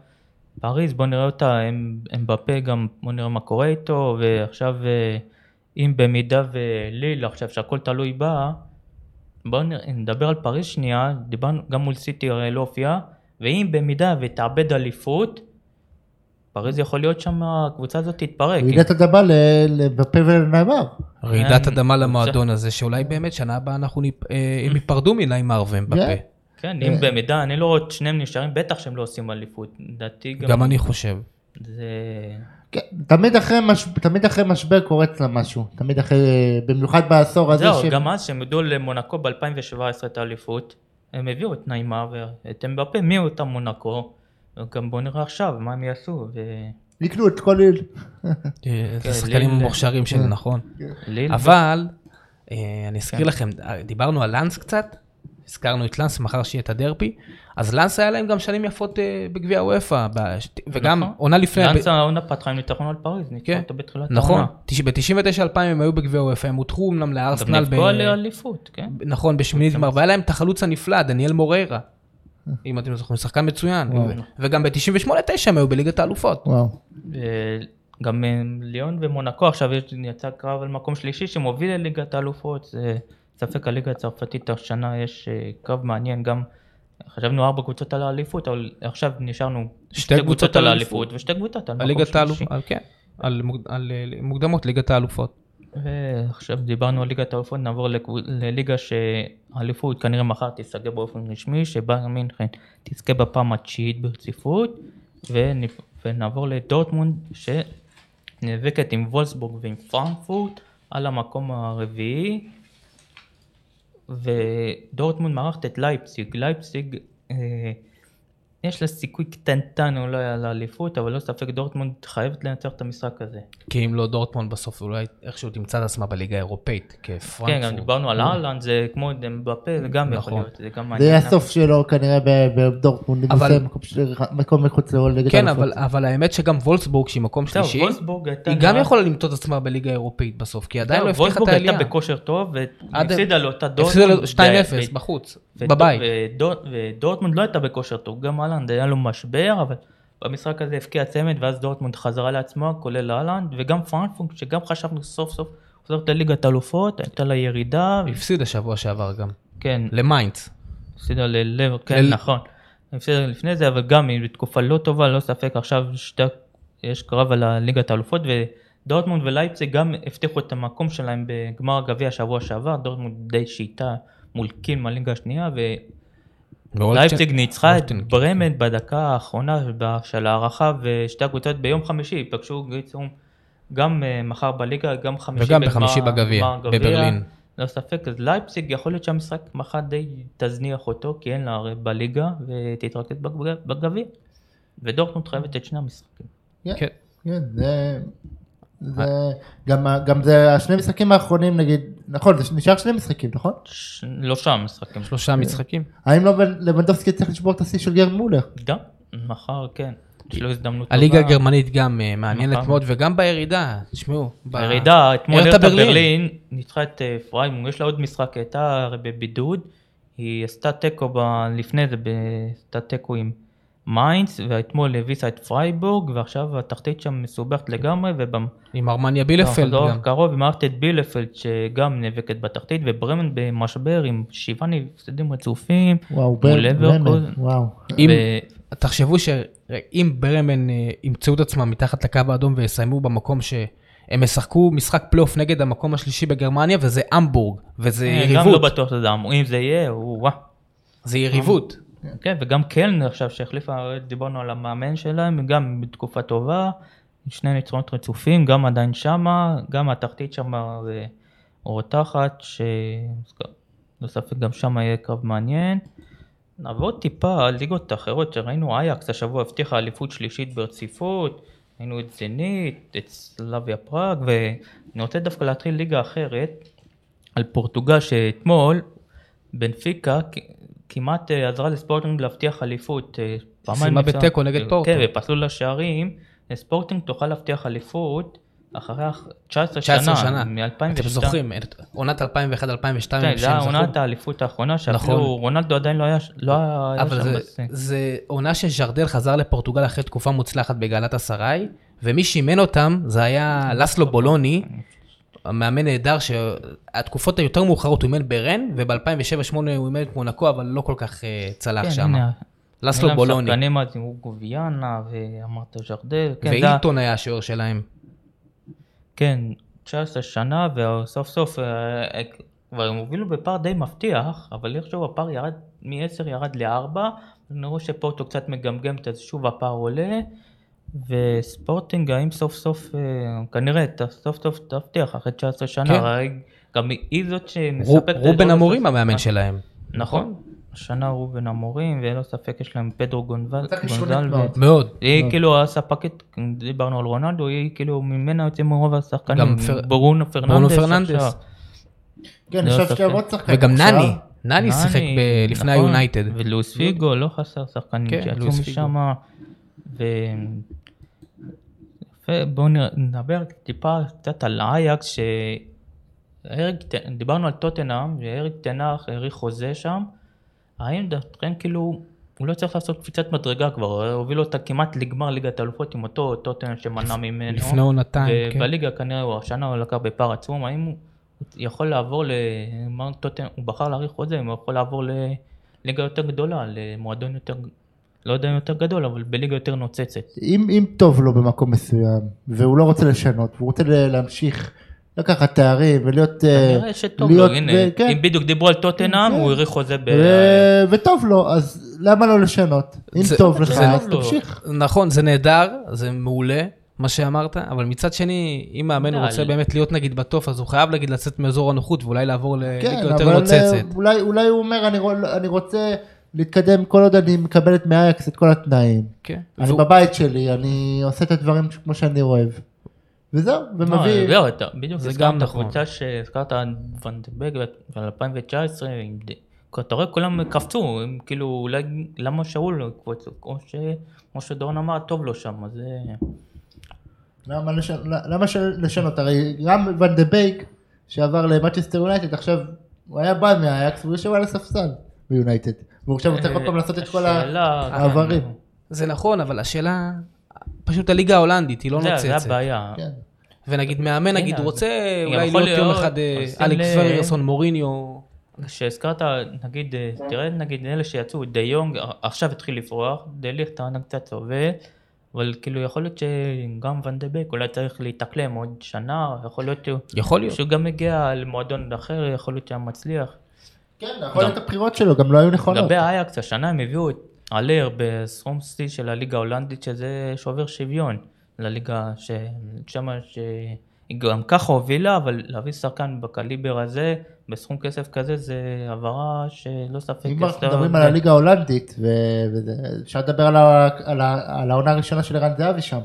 S1: פריז, בוא נראה אותה, הם, הם בפה גם, בוא נראה מה קורה איתו, ועכשיו, אה, אם במידה וליל, עכשיו שהכל תלוי בה, בואו נדבר על פריז שנייה, דיברנו גם מול סיטי, הרי לא הופיעה, ואם במידה ותאבד אליפות, פריז יכול להיות שם, הקבוצה הזאת תתפרק.
S3: כן.
S2: רעידת אדמה ל- לבפה ולנאמר.
S3: רעידת
S1: כן,
S3: אדמה
S1: זה-
S3: למועדון הזה, שאולי באמת שנה הבאה אנחנו, ניפ- אה,
S1: Mm.
S3: הם ייפרדו מניימר ומבפה.
S2: כן.
S1: כן, אם במידה, אני לא רואה את שניהם נשארים, בטח שהם לא עושים אליפות. לדעתי גם...
S3: גם אני חושב.
S1: זה...
S2: כן, תמיד אחרי מש- תמיד אחרי משבר קורץ לה משהו. תמיד אחרי, במיוחד בעשור הזה.
S1: זהו,
S2: שהם-
S1: גם אז שהם ידעו למונקו ב-2017 את האליפות, הם הביאו את ניימר ואת אמבפה, מי הוא אותם מונקו? גם בוא נראה עכשיו מה הם יעשו,
S2: יקנו את כל ליל.
S3: אה,
S1: כן,
S3: זה שחקנים
S1: ליל-
S3: מוכשרים של נכון.
S1: וליל...
S3: אבל, אה, אני
S1: כן.
S3: אזכיר לכם, אה, דיברנו על לאנס קצת, הזכרנו את לאנס, מחר שיהיה את הדרבי, אז לאנס היה להם גם שנים יפות אה, בגביע וופא, וגם
S1: נכון.
S3: עונה לפני...
S1: לאנס העונה פתחה עם ניצחון על פריז, ניצחו
S3: כן.
S1: אותו בתחילת
S3: נכון,
S1: העונה.
S3: ב-99-2000 הם היו בגביע וופא, הם הותחו אמנם
S1: גם
S3: לארסנל, ב-
S1: נפגעו על אליפות, כן? אה.
S3: נכון, בשמינית גמר, והיה להם את החלוץ הנפלא, דניאל מוריירה. אם אתם זוכרים, שחקן מצוין.
S2: וואו.
S3: וגם ב-98-9 הם היו בליגת האלופות.
S2: [laughs] וואו.
S1: אה, גם אה, ליון ומונקו עכשיו יש- יצא קרב על מקום שלישי שמוביל לליגת האלופות, זה ספק הליגה הצרפתית השנה יש אה, קרב מעניין גם. חשבנו ארבע קבוצות על האליפות, אבל עכשיו נשארנו
S3: שתי קבוצות על האליפות.
S1: ושתי קבוצות על נכון, מקום
S3: הליגת
S1: שלישי.
S3: האלופות, כן. על מוג- על, אה, מוקדמות ליגת האלופות.
S1: ועכשיו דיברנו על ליגת האלופות, נעבור לקבו- לליגה שהאליפות כנראה מחר תיסגר באופן רשמי, שבה מינכן תזכה בפעם התשיעית ברציפות, ונפ- ונעבור לדורטמונד שנאבקת עם וולסבורג ועם פרנקפורט על המקום הרביעי, ודורטמונד מארחת את לייפסיג, לייפסיג אה, יש לה סיכוי קטנטן אולי על האליפות, אבל לא ספק דורטמונד חייבת לנצח את המשחק הזה.
S3: כי אם לא דורטמונד בסוף, אולי איכשהו תמצא את עצמה בליגה האירופאית,
S1: כן, גם
S3: כפרנקפורט.
S1: דיברנו על אהלנד, זה כמו דמבפה, זה גם יכול
S3: Mm. נכון.
S1: להיות, זה גם
S2: זה
S1: מעניין.
S2: יהיה הסוף שלו כנראה ב- בדורטמונד, אם הוא
S3: אבל-
S2: יסיים מקום של- מקום מחוץ לעול נגד
S3: כן,
S2: אלופות.
S3: אבל- אבל האמת שגם וולסבורג, שהיא מקום
S1: זהו,
S3: שלישי,
S1: וולסבורג הייתה...
S3: היא גם
S1: נראה-
S3: יכולה למצוא את עצמה בליגה האירופאית בסוף, כי עדיין
S1: זהו,
S3: לא הבטיחה את
S1: וולסבורג
S3: העלייה.
S1: הייתה בכושר טוב,
S3: עד-
S1: והפסידה לאותה
S3: הפסידה
S1: דורטמונד.
S3: לו 2-0
S1: ו-
S3: בחוץ,
S1: ודור-
S3: בבית.
S1: ודור- ודורטמונד לא הייתה בכושר טוב, גם אהלנד היה לו משבר, אבל במשחק הזה הבקיע צמד, ואז דורטמונד חזרה לעצמה, כולל אהלנד, וגם פרנקפונק, שגם חשבנו סוף סוף חוזרת לליגת אלופות, הייתה לה ירידה,
S3: הפסידה שבוע שעבר גם,
S1: כן,
S3: למיינדס.
S1: הפסידה ללבר, כן,
S3: ל-
S1: נכון. הפסידה לפני זה, אבל גם היא בתקופה לא טובה, לא ספק, עכשיו שתי, יש קרב על הליגת האלופות, ודורטמונד ולייפציג גם הבטיחו את המקום שלהם בגמר הגביע שבוע שעבר, דורטמונד די שיטה מול קין מהליגה השנייה, ולייפציג ניצחה את
S3: אולטנקין,
S1: ברמן בדקה האחרונה של ההערכה, ושתי הקבוצות ביום חמישי ייפגשו בעצם גם אה, מחר בליגה, גם חמישי
S3: וגם
S1: בגמר-
S3: בחמישי בגביע,
S1: גמר הגביע.
S3: בברלין.
S1: לא ספק, אז לייפציג יכול להיות שהמשחק מחר די תזניח אותו, כי אין לה הרי בליגה, ותתרכז בגב- בגביע. ודורטמונד חייבת את שני המשחקים.
S3: כן.
S2: כן, זה... זה...
S1: אה.
S2: גם ה- גם זה השני משחקים האחרונים נגיד, נכון, זה נשאר שני משחקים, נכון?
S1: ש... לא שם המשחקים.
S3: שלושה משחקים.
S2: האם לא בן- לבנדובסקי צריך לשבור את השיא של גרד מולר?
S1: גם, מחר כן. יש לו הזדמנות טובה.
S3: הליגה הגרמנית גם אה, מעניינת
S1: נכון.
S3: מאוד, וגם בירידה, תשמעו. ב-
S1: הירידה, אתמול
S3: ירתה
S1: הרתה
S3: ברלין.
S1: ברלין, ניצחה את אה, פריימונג, יש לה עוד משחק, היא הייתה הרי בבידוד, היא עשתה תיקו ב- לפני זה, ב- עשתה תיקו עם מיינדס, ואתמול הביסה את פרייבורג, ועכשיו התחתית שם מסובכת לגמרי, ובמ...
S3: עם ארמניה בילפלד
S1: לא,
S3: גם.
S1: קרוב ומערכת את בילפלד שגם נאבקת בתחתית וברמן במשבר עם שבעה נפסדים רצופים.
S2: וואו,
S1: מול
S2: ברמן,
S1: אברקוזן.
S2: וואו.
S3: אם-
S1: ו-
S3: תחשבו שאם ברמן אה, ימצאו את עצמם מתחת לקו האדום ויסיימו במקום ש... הם ישחקו משחק פלייאוף נגד המקום השלישי בגרמניה, וזה המבורג, וזה
S1: גם לא
S3: יריבות.
S1: בטוח שזה אמור, אם זה יהיה, הוא וואה.
S3: זה יריבות.
S1: כן, וגם קלנר עכשיו שהחליפה, דיברנו על המאמן שלהם, גם בתקופה טובה, עם שני ניצחונות רצופים, גם עדיין שמה, גם התחתית שמה זה רותחת, שלא לא ספק גם שמה יהיה קרב מעניין. נעבור טיפה על ליגות אחרות, שראינו אייקס השבוע הבטיחה אליפות שלישית ברציפות, ראינו את זנית, את סלאביה פראג, ואני רוצה דווקא להתחיל ליגה אחרת, על פורטוגל שאתמול בנפיקה כ- כמעט אה, עזרה לספורטינג להבטיח אליפות. אה, פעמיים
S3: סיימה
S1: ניצחה-
S3: בתיקו נגד
S1: אה,
S3: פורטו.
S1: כן, ופסלו לה שערים. אה, ספורטינג תוכל להבטיח אליפות אחרי אח- 19
S3: 19
S1: שנה,
S3: שנה.
S1: מ-2002.
S3: אתם זוכרים, את עונת 2001-2002,
S1: כן, זה היה עונת האליפות האחרונה,
S3: נכון.
S1: שאפילו רונלדו עדיין לא היה ש- לא היה
S3: אבל
S1: שם.
S3: זה,
S1: בס-
S3: זה עונה שז'רדל חזר לפורטוגל אחרי תקופה מוצלחת בגלת אסריי, ומי שאימן אותם זה היה לסלו בולוני, המאמן נהדר שהתקופות היותר מאוחרות הוא אימן ברן, וב-2007-2008 הוא אימן את מונקו, אבל לא כל כך אה, צלח
S1: כן,
S3: שם.
S1: הנה, לא
S3: לסלו בולוני,
S1: שחקנים אז עם גוביאנה, ואמרת ז'רדל. כן, זה היה-
S3: ואילטון היה השוער שלהם.
S1: כן, 19 שנה, וסוף סוף אה, כבר הם הובילו בפער די מבטיח, אבל איכשהו הפער ירד, מ-10 ירד ל-4, אני רואה שפורטו קצת מגמגמת, אז שוב הפער עולה, וספורטינג, האם סוף סוף, אה, כנראה, ת- סוף סוף תבטיח, אחרי 19 שנה,
S3: כן.
S1: הרי גם היא זאת
S3: רו-
S1: שמספקת... את אה.
S3: רובן
S1: עוד
S3: המורים
S1: הסוף.
S3: המאמן שלהם.
S1: נכון. השנה רובן המורים, וללא ספק יש להם פדרו גונבל,
S2: קבוצה כישרונית
S1: גונזל
S2: מאוד.
S3: מאוד.
S1: היא כאילו הספקית, דיברנו על רונלדו, היא כאילו ממנה יוצאים רוב השחקנים,
S3: גם פר-
S1: ברונו פרננדס.
S3: פרננדס.
S1: עכשיו.
S2: כן,
S1: לא
S2: עכשיו
S1: ספק.
S2: יש להם עוד שחקן.
S3: וגם
S2: עכשיו.
S3: נני, נני שיחק ב- לפני
S1: נכון.
S3: היונייטד.
S1: ולואיס פיגו, לא חסר שחקנים
S3: כן,
S1: שיצאו
S3: לואיס
S1: משם. ו... יפה, בואו נ- נדבר טיפה קצת על אייקס, ש... אריק ט- דיברנו על טוטנאם, ואריק תנח האריך חוזה שם. האם דעתכם כאילו, הוא לא צריך לעשות קפיצת מדרגה כבר, הוא הוביל אותה כמעט לגמר ליגת האלופות עם אותו טוטנאם שמנע ממנו.
S3: לפני עונתיים, כן.
S1: ובליגה כנראה הוא השנה הוא לקח בפער עצום, האם הוא יכול לעבור ל... אמר טוטנאם, הוא בחר להאריך חוזה, אם הוא יכול לעבור לליגה יותר גדולה, למועדון יותר, לא יודע אם יותר גדול, אבל בליגה יותר נוצצת.
S2: אם, אם טוב לו במקום מסוים, והוא לא רוצה לשנות, והוא רוצה ל- להמשיך לקחת תארים ולהיות... אה,
S1: נראה שטוב לו,
S2: להיות-
S1: הנה,
S2: ו- כן.
S1: אם בדיוק דיברו על טוטנאם,
S2: כן.
S1: הוא האריך חוזה ב... אה,
S2: ו- וטוב לו, אז למה לא לשנות? אם
S3: זה-
S2: טוב לך,
S1: זה לא
S2: אז
S1: טוב לו.
S2: תמשיך.
S3: נכון, זה נהדר, זה מעולה, מה שאמרת, אבל מצד שני, אם מאמן
S1: די.
S3: רוצה באמת להיות נגיד בטוף, אז הוא חייב נגיד לצאת מאזור הנוחות ואולי לעבור לליגה
S2: כן,
S3: יותר
S2: אבל
S3: נוצצת.
S2: אה, אולי, אולי הוא אומר, אני, רוא- אני רוצה להתקדם כל עוד אני מקבלת מאייקס את כל התנאים.
S3: כן.
S2: אני
S3: והוא-
S2: בבית שלי, אני עושה את הדברים ש- כמו שאני אוהב. וזהו, ומביא...
S1: לא, אתה- בדיוק
S3: זה
S1: הזכרת
S3: גם נכון.
S1: קבוצה שהזכרת ונדבג על 2019, עם ד- אתה רואה כולם קפצו, הם כאילו אולי למה שאול לא קפצו, או ש- כמו שדורון אמר, טוב לו שם, אז אה, זה...
S2: למה לש- למה ש- לשנות? הרי גם ואן דה בייק שעבר למאצ'סטר יונייטד עכשיו הוא היה בא מהאייקס והוא יושב על הספסל ביונייטד. והוא עכשיו צריך עוד פעם לעשות את כל ה...
S1: השאלה- כן. לא
S2: העברים.
S3: זה נכון, אבל השאלה, פשוט הליגה ההולנדית, היא לא
S1: זה- זה
S3: נוצצת.
S1: הבעיה.
S2: כן.
S3: ונגיד מאמן, נגיד,
S1: הנה,
S3: הוא רוצה
S1: יכול
S3: אולי להיות יום
S1: להיות,
S3: אחד אה,
S1: עושים ל-
S3: אלכס פרגרסון, מוריניו.
S2: כן.
S1: כשהזכרת, נגיד, אה, תראה נגיד אלה שיצאו, דה יונג אה, עכשיו התחיל לפרוח, דה ליכט טענה קצת סובל, אבל כאילו יכול להיות שגם ואן דה בק אולי צריך להתאקלם עוד שנה, יכול להיות שהוא-
S3: יכול להיות.
S1: שהוא גם הגיע למועדון אחר, יכול להיות שהיה מצליח.
S2: כן, יכול להיות הבחירות שלו גם לא היו נכונות.
S1: לגבי אייקס, השנה הם הביאו את אלר בסכום שיא של הליגה ההולנדית, שזה שובר שוויון לליגה ששמה, שהיא גם ככה הובילה, אבל להביא שחקן בקליבר הזה, בסכום כסף כזה, זה העברה שלא ספק.
S2: אם אנחנו
S1: עשתה-
S2: מדברים על הליגה ההולנדית, ו- וזה- אפשר לדבר על ה- על ה- על העונה הראשונה של ערן זהבי שם.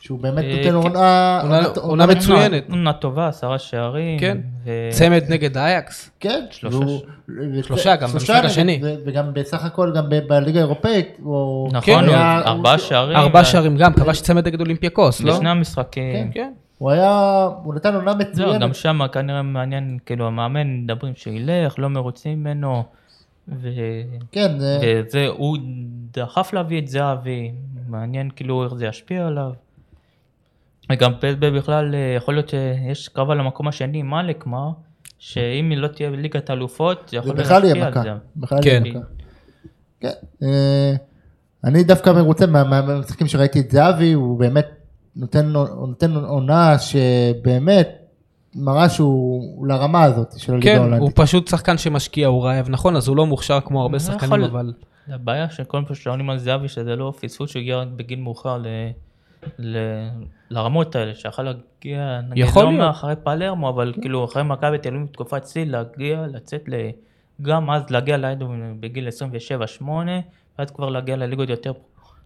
S2: שהוא באמת
S1: אה,
S2: נותן
S1: כן.
S2: עונה...
S3: עונה-
S2: עונת-
S3: עונה
S2: עונת-
S3: מצוינת. מצוינת.
S1: עונה טובה, עשרה שערים.
S3: כן.
S1: ו-
S3: צמד נגד אייקס.
S2: כן,
S1: שלושה
S2: והוא-
S1: ש-
S2: ו-
S3: שלושה, גם
S2: שלושה
S3: במשחק
S2: נגד-
S3: השני.
S2: ו- וגם בסך הכל גם ב- בליגה האירופאית. הוא-
S1: נכון,
S2: הוא היה-
S1: הוא- ארבעה שערים.
S3: ארבע שערים גם, כבש צמד נגד אולימפיאקוס, לא?
S1: בשני המשחקים.
S3: כן.
S2: הוא היה... הוא נתן עונה
S1: זהו, לא, גם
S2: מצוינת.
S1: שם כנראה מעניין, כאילו המאמן, מדברים שילך, לא מרוצים ממנו. ו-
S2: כן, זה-
S1: וזה, אה, הוא דחף להביא את זהבי, מעניין כאילו איך זה ישפיע עליו. וגם פלבה בכלל, אה, יכול להיות שיש קרב על המקום השני, מאלק מה, שאם היא לא תהיה בליגת אלופות, זה
S2: זה
S1: יכול
S2: בכלל
S1: להשפיע
S2: יהיה
S1: על
S2: מכה.
S1: זה.
S2: בכלל יהיה
S3: כן.
S2: מכה. כן. אה, אני דווקא מרוצה מה- מה- מהמשחקים שראיתי את זהבי, הוא באמת נותן הוא נותן עונה שבאמת מראה שהוא לרמה הזאת של הליגה
S3: כן, הוא
S2: ההולנדית.
S3: פשוט שחקן שמשקיע, הוא רעב, נכון, אז הוא לא מוכשר כמו הרבה
S1: זה
S3: שחקנים,
S1: יכול-
S3: אבל...
S1: הבעיה שכל פעם שעונים על זהבי, שזה לא פספוס שהגיע רק בגיל מאוחר ל... ל... לרמות האלה, שיכול להגיע, נגיד
S3: יכול
S1: לא
S3: להיות. כן.
S1: מאחרי פלרמו, אבל כאילו אחרי מכבי תל אביב תקופת שיא, להגיע, לצאת ל... גם אז להגיע לאדו בגיל 27-8, ואז כבר להגיע לליגות יותר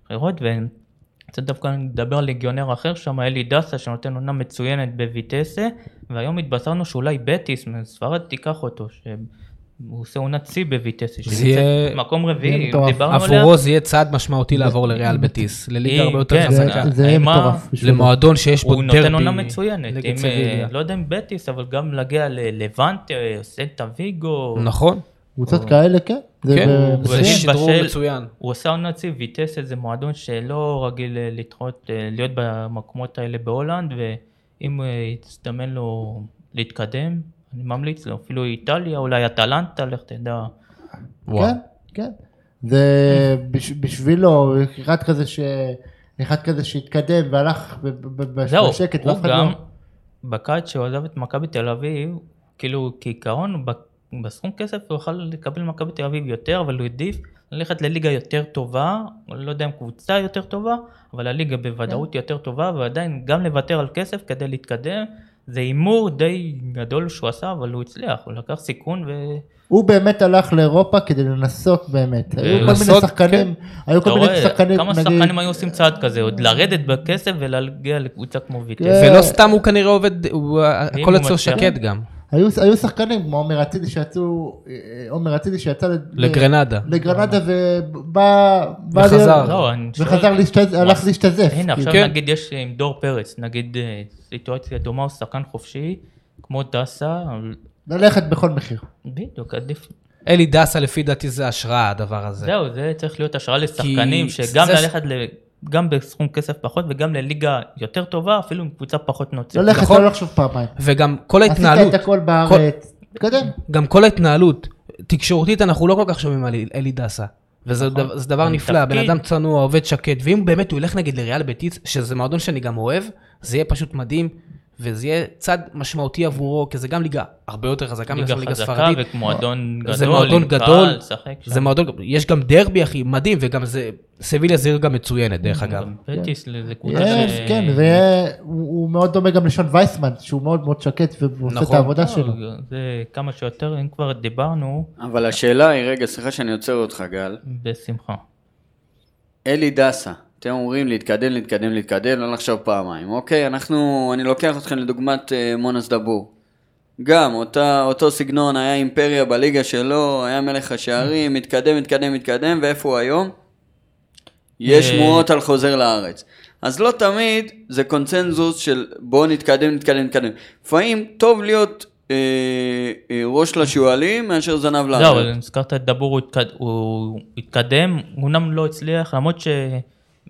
S1: בחירות, וצריך דווקא לדבר על ליגיונר אחר שם, אלי דסה, שנותן עונה מצוינת בויטסה, והיום התבשרנו שאולי בטיס מספרד תיקח אותו, שהוא עושה עונת שיא בויטסה,
S3: זה
S1: שנמצאת
S3: יהיה-
S1: מקום
S2: יהיה
S1: רביעי,
S2: מטורף.
S1: דיברנו עליה.
S3: עבורו זה יהיה צעד משמעותי לעבור לריאל בטיס, לליגה
S1: היא-
S3: הרבה יותר
S1: כן,
S3: חזקה.
S2: זה יהיה
S1: האימה-
S2: מטורף. בשבילו.
S3: למועדון שיש בו
S1: הוא
S3: דרבי.
S1: נותן עונה מצוינת,
S3: נגד
S1: עם,
S3: סביליה.
S1: אה, לא יודע אם בטיס, אבל גם להגיע ללבנטה, סנטה ויגו,
S3: נכון,
S2: קבוצות כאלה, כן. זה
S3: כן,
S2: ב-
S3: זה
S1: הוא
S2: מצוין.
S3: שדרוג
S1: בשל-
S3: מצוין.
S1: הוא עשה עונה צי, ויטס איזה מועדון שלא רגיל אה, לדחות, אה, להיות במקומות האלה בהולנד, ואם אה, יצטמן לו להתקדם, אני ממליץ לו, אפילו איטליה, אולי אטלנטה, לך תדע.
S3: וואו.
S2: כן, כן. זה בש- בשבילו, אחד כזה ש... אחד כזה שהתקדם והלך ב- ב- ב-
S1: זהו,
S2: בשקט
S1: הוא
S2: ואף אחד לא...
S1: גם, בקיץ שהוא עזב את מכבי תל אביב, כאילו כעיקרון, הוא ב- בסכום כסף הוא יוכל לקבל מכבי תל אביב יותר, אבל הוא העדיף ללכת לליגה יותר טובה, לא יודע אם קבוצה יותר טובה, אבל הליגה
S2: כן.
S1: בוודאות יותר טובה, ועדיין גם לוותר על כסף כדי להתקדם, זה הימור די גדול שהוא עשה, אבל הוא הצליח, הוא לקח סיכון ו...
S2: הוא באמת הלך לאירופה כדי לנסות באמת. היו כל מיני
S3: לנסות,
S2: שחקנים, היו
S1: אה, כן. אתה
S2: לא כל מיני
S1: רואה
S2: שחקנים,
S1: כמה
S2: נגיד,
S1: שחקנים היו עושים צעד כזה, עוד לרדת בכסף ולהגיע לקבוצה כמו ויטס.
S2: כן.
S3: ולא סתם הוא כנראה עובד, הוא-
S1: אם
S3: הכל
S1: הוא
S3: אצלו
S1: מצליח.
S3: שקט גם,
S2: היו היו שחקנים כמו עומר אצילי שיצאו, אה, עומר אצילי שיצא ל-
S3: לגרנדה.
S2: לגרנדה ובא... בא
S3: וחזר.
S2: להיות-
S1: לא, אני שואל-
S2: וחזר, להשתז- הלך להשתזף.
S1: אה, הנה,
S2: כאילו.
S1: עכשיו
S3: כן.
S1: נגיד יש אה, עם דור פרץ, נגיד אה, סיטואציה דומה, הוא שחקן חופשי, כמו דסה, אבל
S2: ללכת בכל מחיר.
S1: נכון. בדיוק, עדיף.
S3: אלי דסה לפי דעתי זה השראה הדבר הזה.
S1: זהו, זה צריך להיות השראה לשחקנים, שגם
S3: זה-
S1: ללכת ל... גם בסכום כסף פחות וגם לליגה יותר טובה, אפילו עם קבוצה פחות נוצרת.
S2: ללכת,
S3: נכון.
S2: לא לחשוב פעמיים.
S3: וגם כל
S2: עשית
S3: ההתנהלות,
S2: את הכל בארץ, תתקדם.
S3: גם כל ההתנהלות, תקשורתית אנחנו לא כל כך שומעים על אלי דסה. וזה
S1: נכון.
S3: דבר- זה דבר
S1: עם
S3: נפלא, בן
S1: תפקיד.
S3: אדם צנוע, עובד שקט, ואם באמת הוא ילך נגיד לריאל בטיס, שזה מועדון שאני גם אוהב, זה יהיה פשוט מדהים, וזה יהיה צעד משמעותי עבורו, כי זה גם ליגה הרבה יותר חזקה מלעשות
S1: ליגה
S3: ליגה
S1: חזקה
S3: ספרדית.
S1: וכמועדון גדול,
S3: זה מועדון
S1: עם
S3: גדול,
S1: קהל, לשחק שם.
S3: זה מועדון, יש גם דרבי, אחי, מדהים, וגם זה, סביליה זו עיר גם מצוינת, דרך אגב.
S1: גם בטיס, זה קבוצה
S2: יש,
S1: ש-
S2: כן, והוא הוא מאוד דומה גם לשון וייסמן, שהוא מאוד מאוד שקט ועושה את
S3: נכון.
S1: אה,
S2: העבודה שלו.
S1: לא, זה כמה שיותר, אם כבר דיברנו,
S4: אבל השאלה היא, רגע, סליחה שאני עוצר אותך, גל.
S1: בשמחה.
S4: אלי דסה, אתם אומרים להתקדם, להתקדם, להתקדם, לא לחשוב פעמיים. אוקיי, אנחנו, אני לוקח אתכם לדוגמת אה, מונס דבור. גם, אותה, אותו סגנון, היה אימפריה בליגה שלו, היה מלך השערים, מתקדם, מתקדם, מתקדם, ואיפה הוא היום? יש
S1: אה.
S4: שמועות על חוזר לארץ. אז לא תמיד זה קונצנזוס של בואו נתקדם, נתקדם, נתקדם. לפעמים טוב להיות אה, אה, ראש לשועלים מאשר זנב לארץ.
S1: זהו, לא, אבל הזכרת את דבור, הוא התקד- הוא התקדם, הוא אומנם לא הצליח, למרות
S4: כן,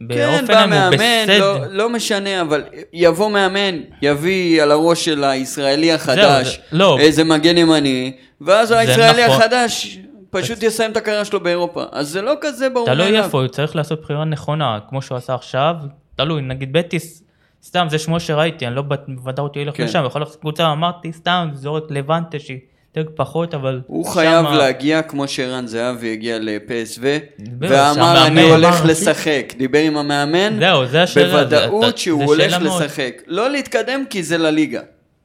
S1: שבאופן
S4: בא
S1: הוא
S4: מאמן, לא,
S1: בסדר.
S4: לא משנה, אבל יבוא מאמן, יביא על הראש של הישראלי החדש,
S1: זה- לא.
S4: איזה מגן ימני, ואז הישראלי
S1: נכון.
S4: החדש פשוט יסיים את הקריירה שלו באירופה. אז זה לא כזה ברור
S1: תלוי
S4: מאליו.
S1: איפה, הוא צריך לעשות בחירה נכונה, כמו שהוא עשה עכשיו, תלוי, נגיד בטיס, סתם, זה שמו שראיתי, אני לא בט- בוודאות הוא ילך
S4: כן.
S1: לשם, הוא יכול ללכת לקבוצה, אמרתי, סתם, זורק לבנטה שהיא יותר פחות, אבל...
S4: הוא חייב
S1: שמה-
S4: להגיע כמו שערן זהבי הגיע לפסו,
S1: שהמאמן
S4: ואמר אני
S1: אמר
S4: הולך
S1: לו,
S4: לשחק. דיבר עם המאמן,
S1: זהו, זה השאלה. זה-
S4: בוודאות
S1: זה-
S4: שהוא
S1: זה
S4: הולך
S1: שאלה מאוד-
S4: לשחק. לא להתקדם כי זה לליגה.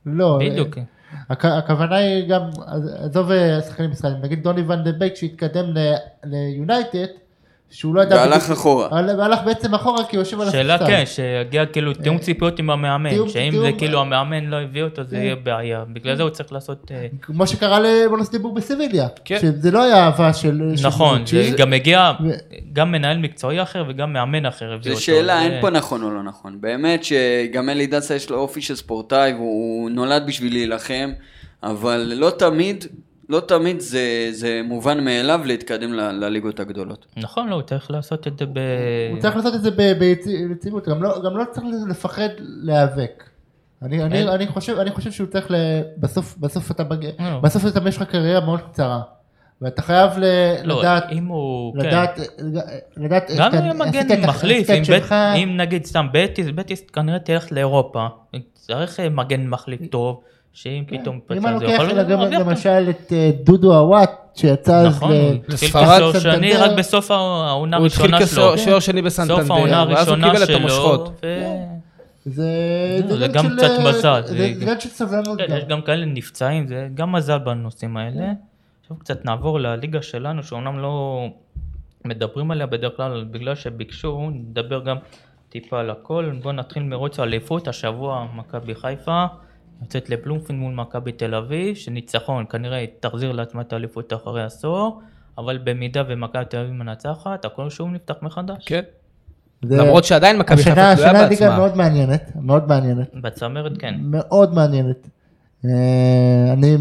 S2: לא,
S1: בדיוק.
S2: הכ- הכוונה היא גם, אז- עזוב אה, שחקנים ישראלים, נגיד דוני ון דה בייק שהתקדם ל- ליונייטד, שהוא לא ידע...
S4: והלך
S2: בדיוק-
S4: אחורה.
S2: הל- והלך בעצם אחורה כי הוא יושב על
S1: שאלה
S2: הספסל.
S1: כן, שיגיע כאילו תיאום ציפיות עם המאמן,
S2: אה, תיאום-
S1: שאם
S2: תיאום- אה.
S1: זה כאילו המאמן לא הביא אותו זה יהיה בעיה, בגלל זה הוא צריך לעשות, אה,
S2: כמו שקרה לבונוס דיבור בסיביליה.
S3: כן.
S2: שזה לא היה אהבה של... של
S1: נכון,
S2: מוצ'י.
S1: זה גם הגיע
S2: ו-
S1: גם מנהל מקצועי אחר וגם מאמן אחר הביא
S4: זו
S1: אותו. אה,
S4: שאלה,
S1: זה-
S4: אין פה נכון או לא נכון. באמת שגם אלי דסה יש לו אופי של ספורטאי, והוא הוא נולד בשביל להילחם, אבל לא תמיד, לא תמיד זה, זה מובן מאליו להתקדם ל, לליגות הגדולות.
S1: נכון, לא, הוא צריך לעשות את זה ב...
S2: הוא צריך לעשות את זה ב- ביצ- ביציבות, גם לא, גם לא צריך לפחד להיאבק. אני,
S1: אין.
S2: אני, אני, חושב, אני חושב שהוא צריך, ל... בסוף, בסוף אתה מגיע,
S1: לא.
S2: בסוף אתה יש לך קריירה מאוד קצרה. ואתה חייב ל...
S1: לא,
S2: לדעת,
S1: אם הוא... כן.
S2: לדעת, לדעת,
S1: גם
S2: איך
S1: אם
S2: אתה- עשית
S1: מגן
S2: את
S1: מחליף,
S2: עשית את
S1: אם
S2: שלך.
S1: בית- אם נגיד סתם בטיס, בטיס כנראה תלך לאירופה, צריך אה, מגן מחליף טוב, שאם פתאום...
S2: כן, אם
S1: פצע,
S2: אני
S1: זה
S2: לוקח
S1: יכול
S2: אלא גם-
S1: להביא אותו.
S2: למשל את אה, דודו הוואט, שיצא אז
S1: נכון,
S2: ל-
S1: הוא התחיל
S3: לספרד,
S1: כסור שני
S2: סנטנדר.
S1: רק בסוף העונה
S3: הוא התחיל
S1: הראשונה שלו.
S3: כשוער שני בסנטנדר,
S1: סוף העונה
S3: ואז הוא
S1: הראשונה
S3: קיבל את
S1: שלו,
S3: המושכות.
S2: כן.
S1: ו-
S2: זה
S1: לא,
S2: זה
S1: זה
S2: עניין
S1: גם
S2: של,
S1: קצת
S2: אה,
S1: מזל,
S2: זה
S1: זה-
S2: עניין של סבלנות
S1: כן,
S2: גם.
S1: יש גם כאלה נפצעים, זה גם מזל בנושאים האלה. עכשיו קצת נעבור לליגה שלנו, שאומנם לא מדברים עליה בדרך כלל, אבל בגלל שביקשו, נדבר גם טיפה על הכל. בואו נתחיל מרוץ האליפות, השבוע מכבי חיפה יוצאת לבלומפין מול מכבי תל אביב, שניצחון כנראה היא תחזיר לעצמה את האליפות אחרי עשור, אבל במידה ומכבי תל אביב מנצחת, הכל שוב נפתח מחדש.
S3: כן.
S2: זה-
S3: למרות שעדיין מכבי
S2: השנה
S3: חיפה
S2: השנה
S3: תלויה
S2: ליגה
S3: בעצמה.
S2: מאוד מעניינת, מאוד מעניינת.
S1: בצמרת כן.
S2: מאוד מעניינת. אה, אני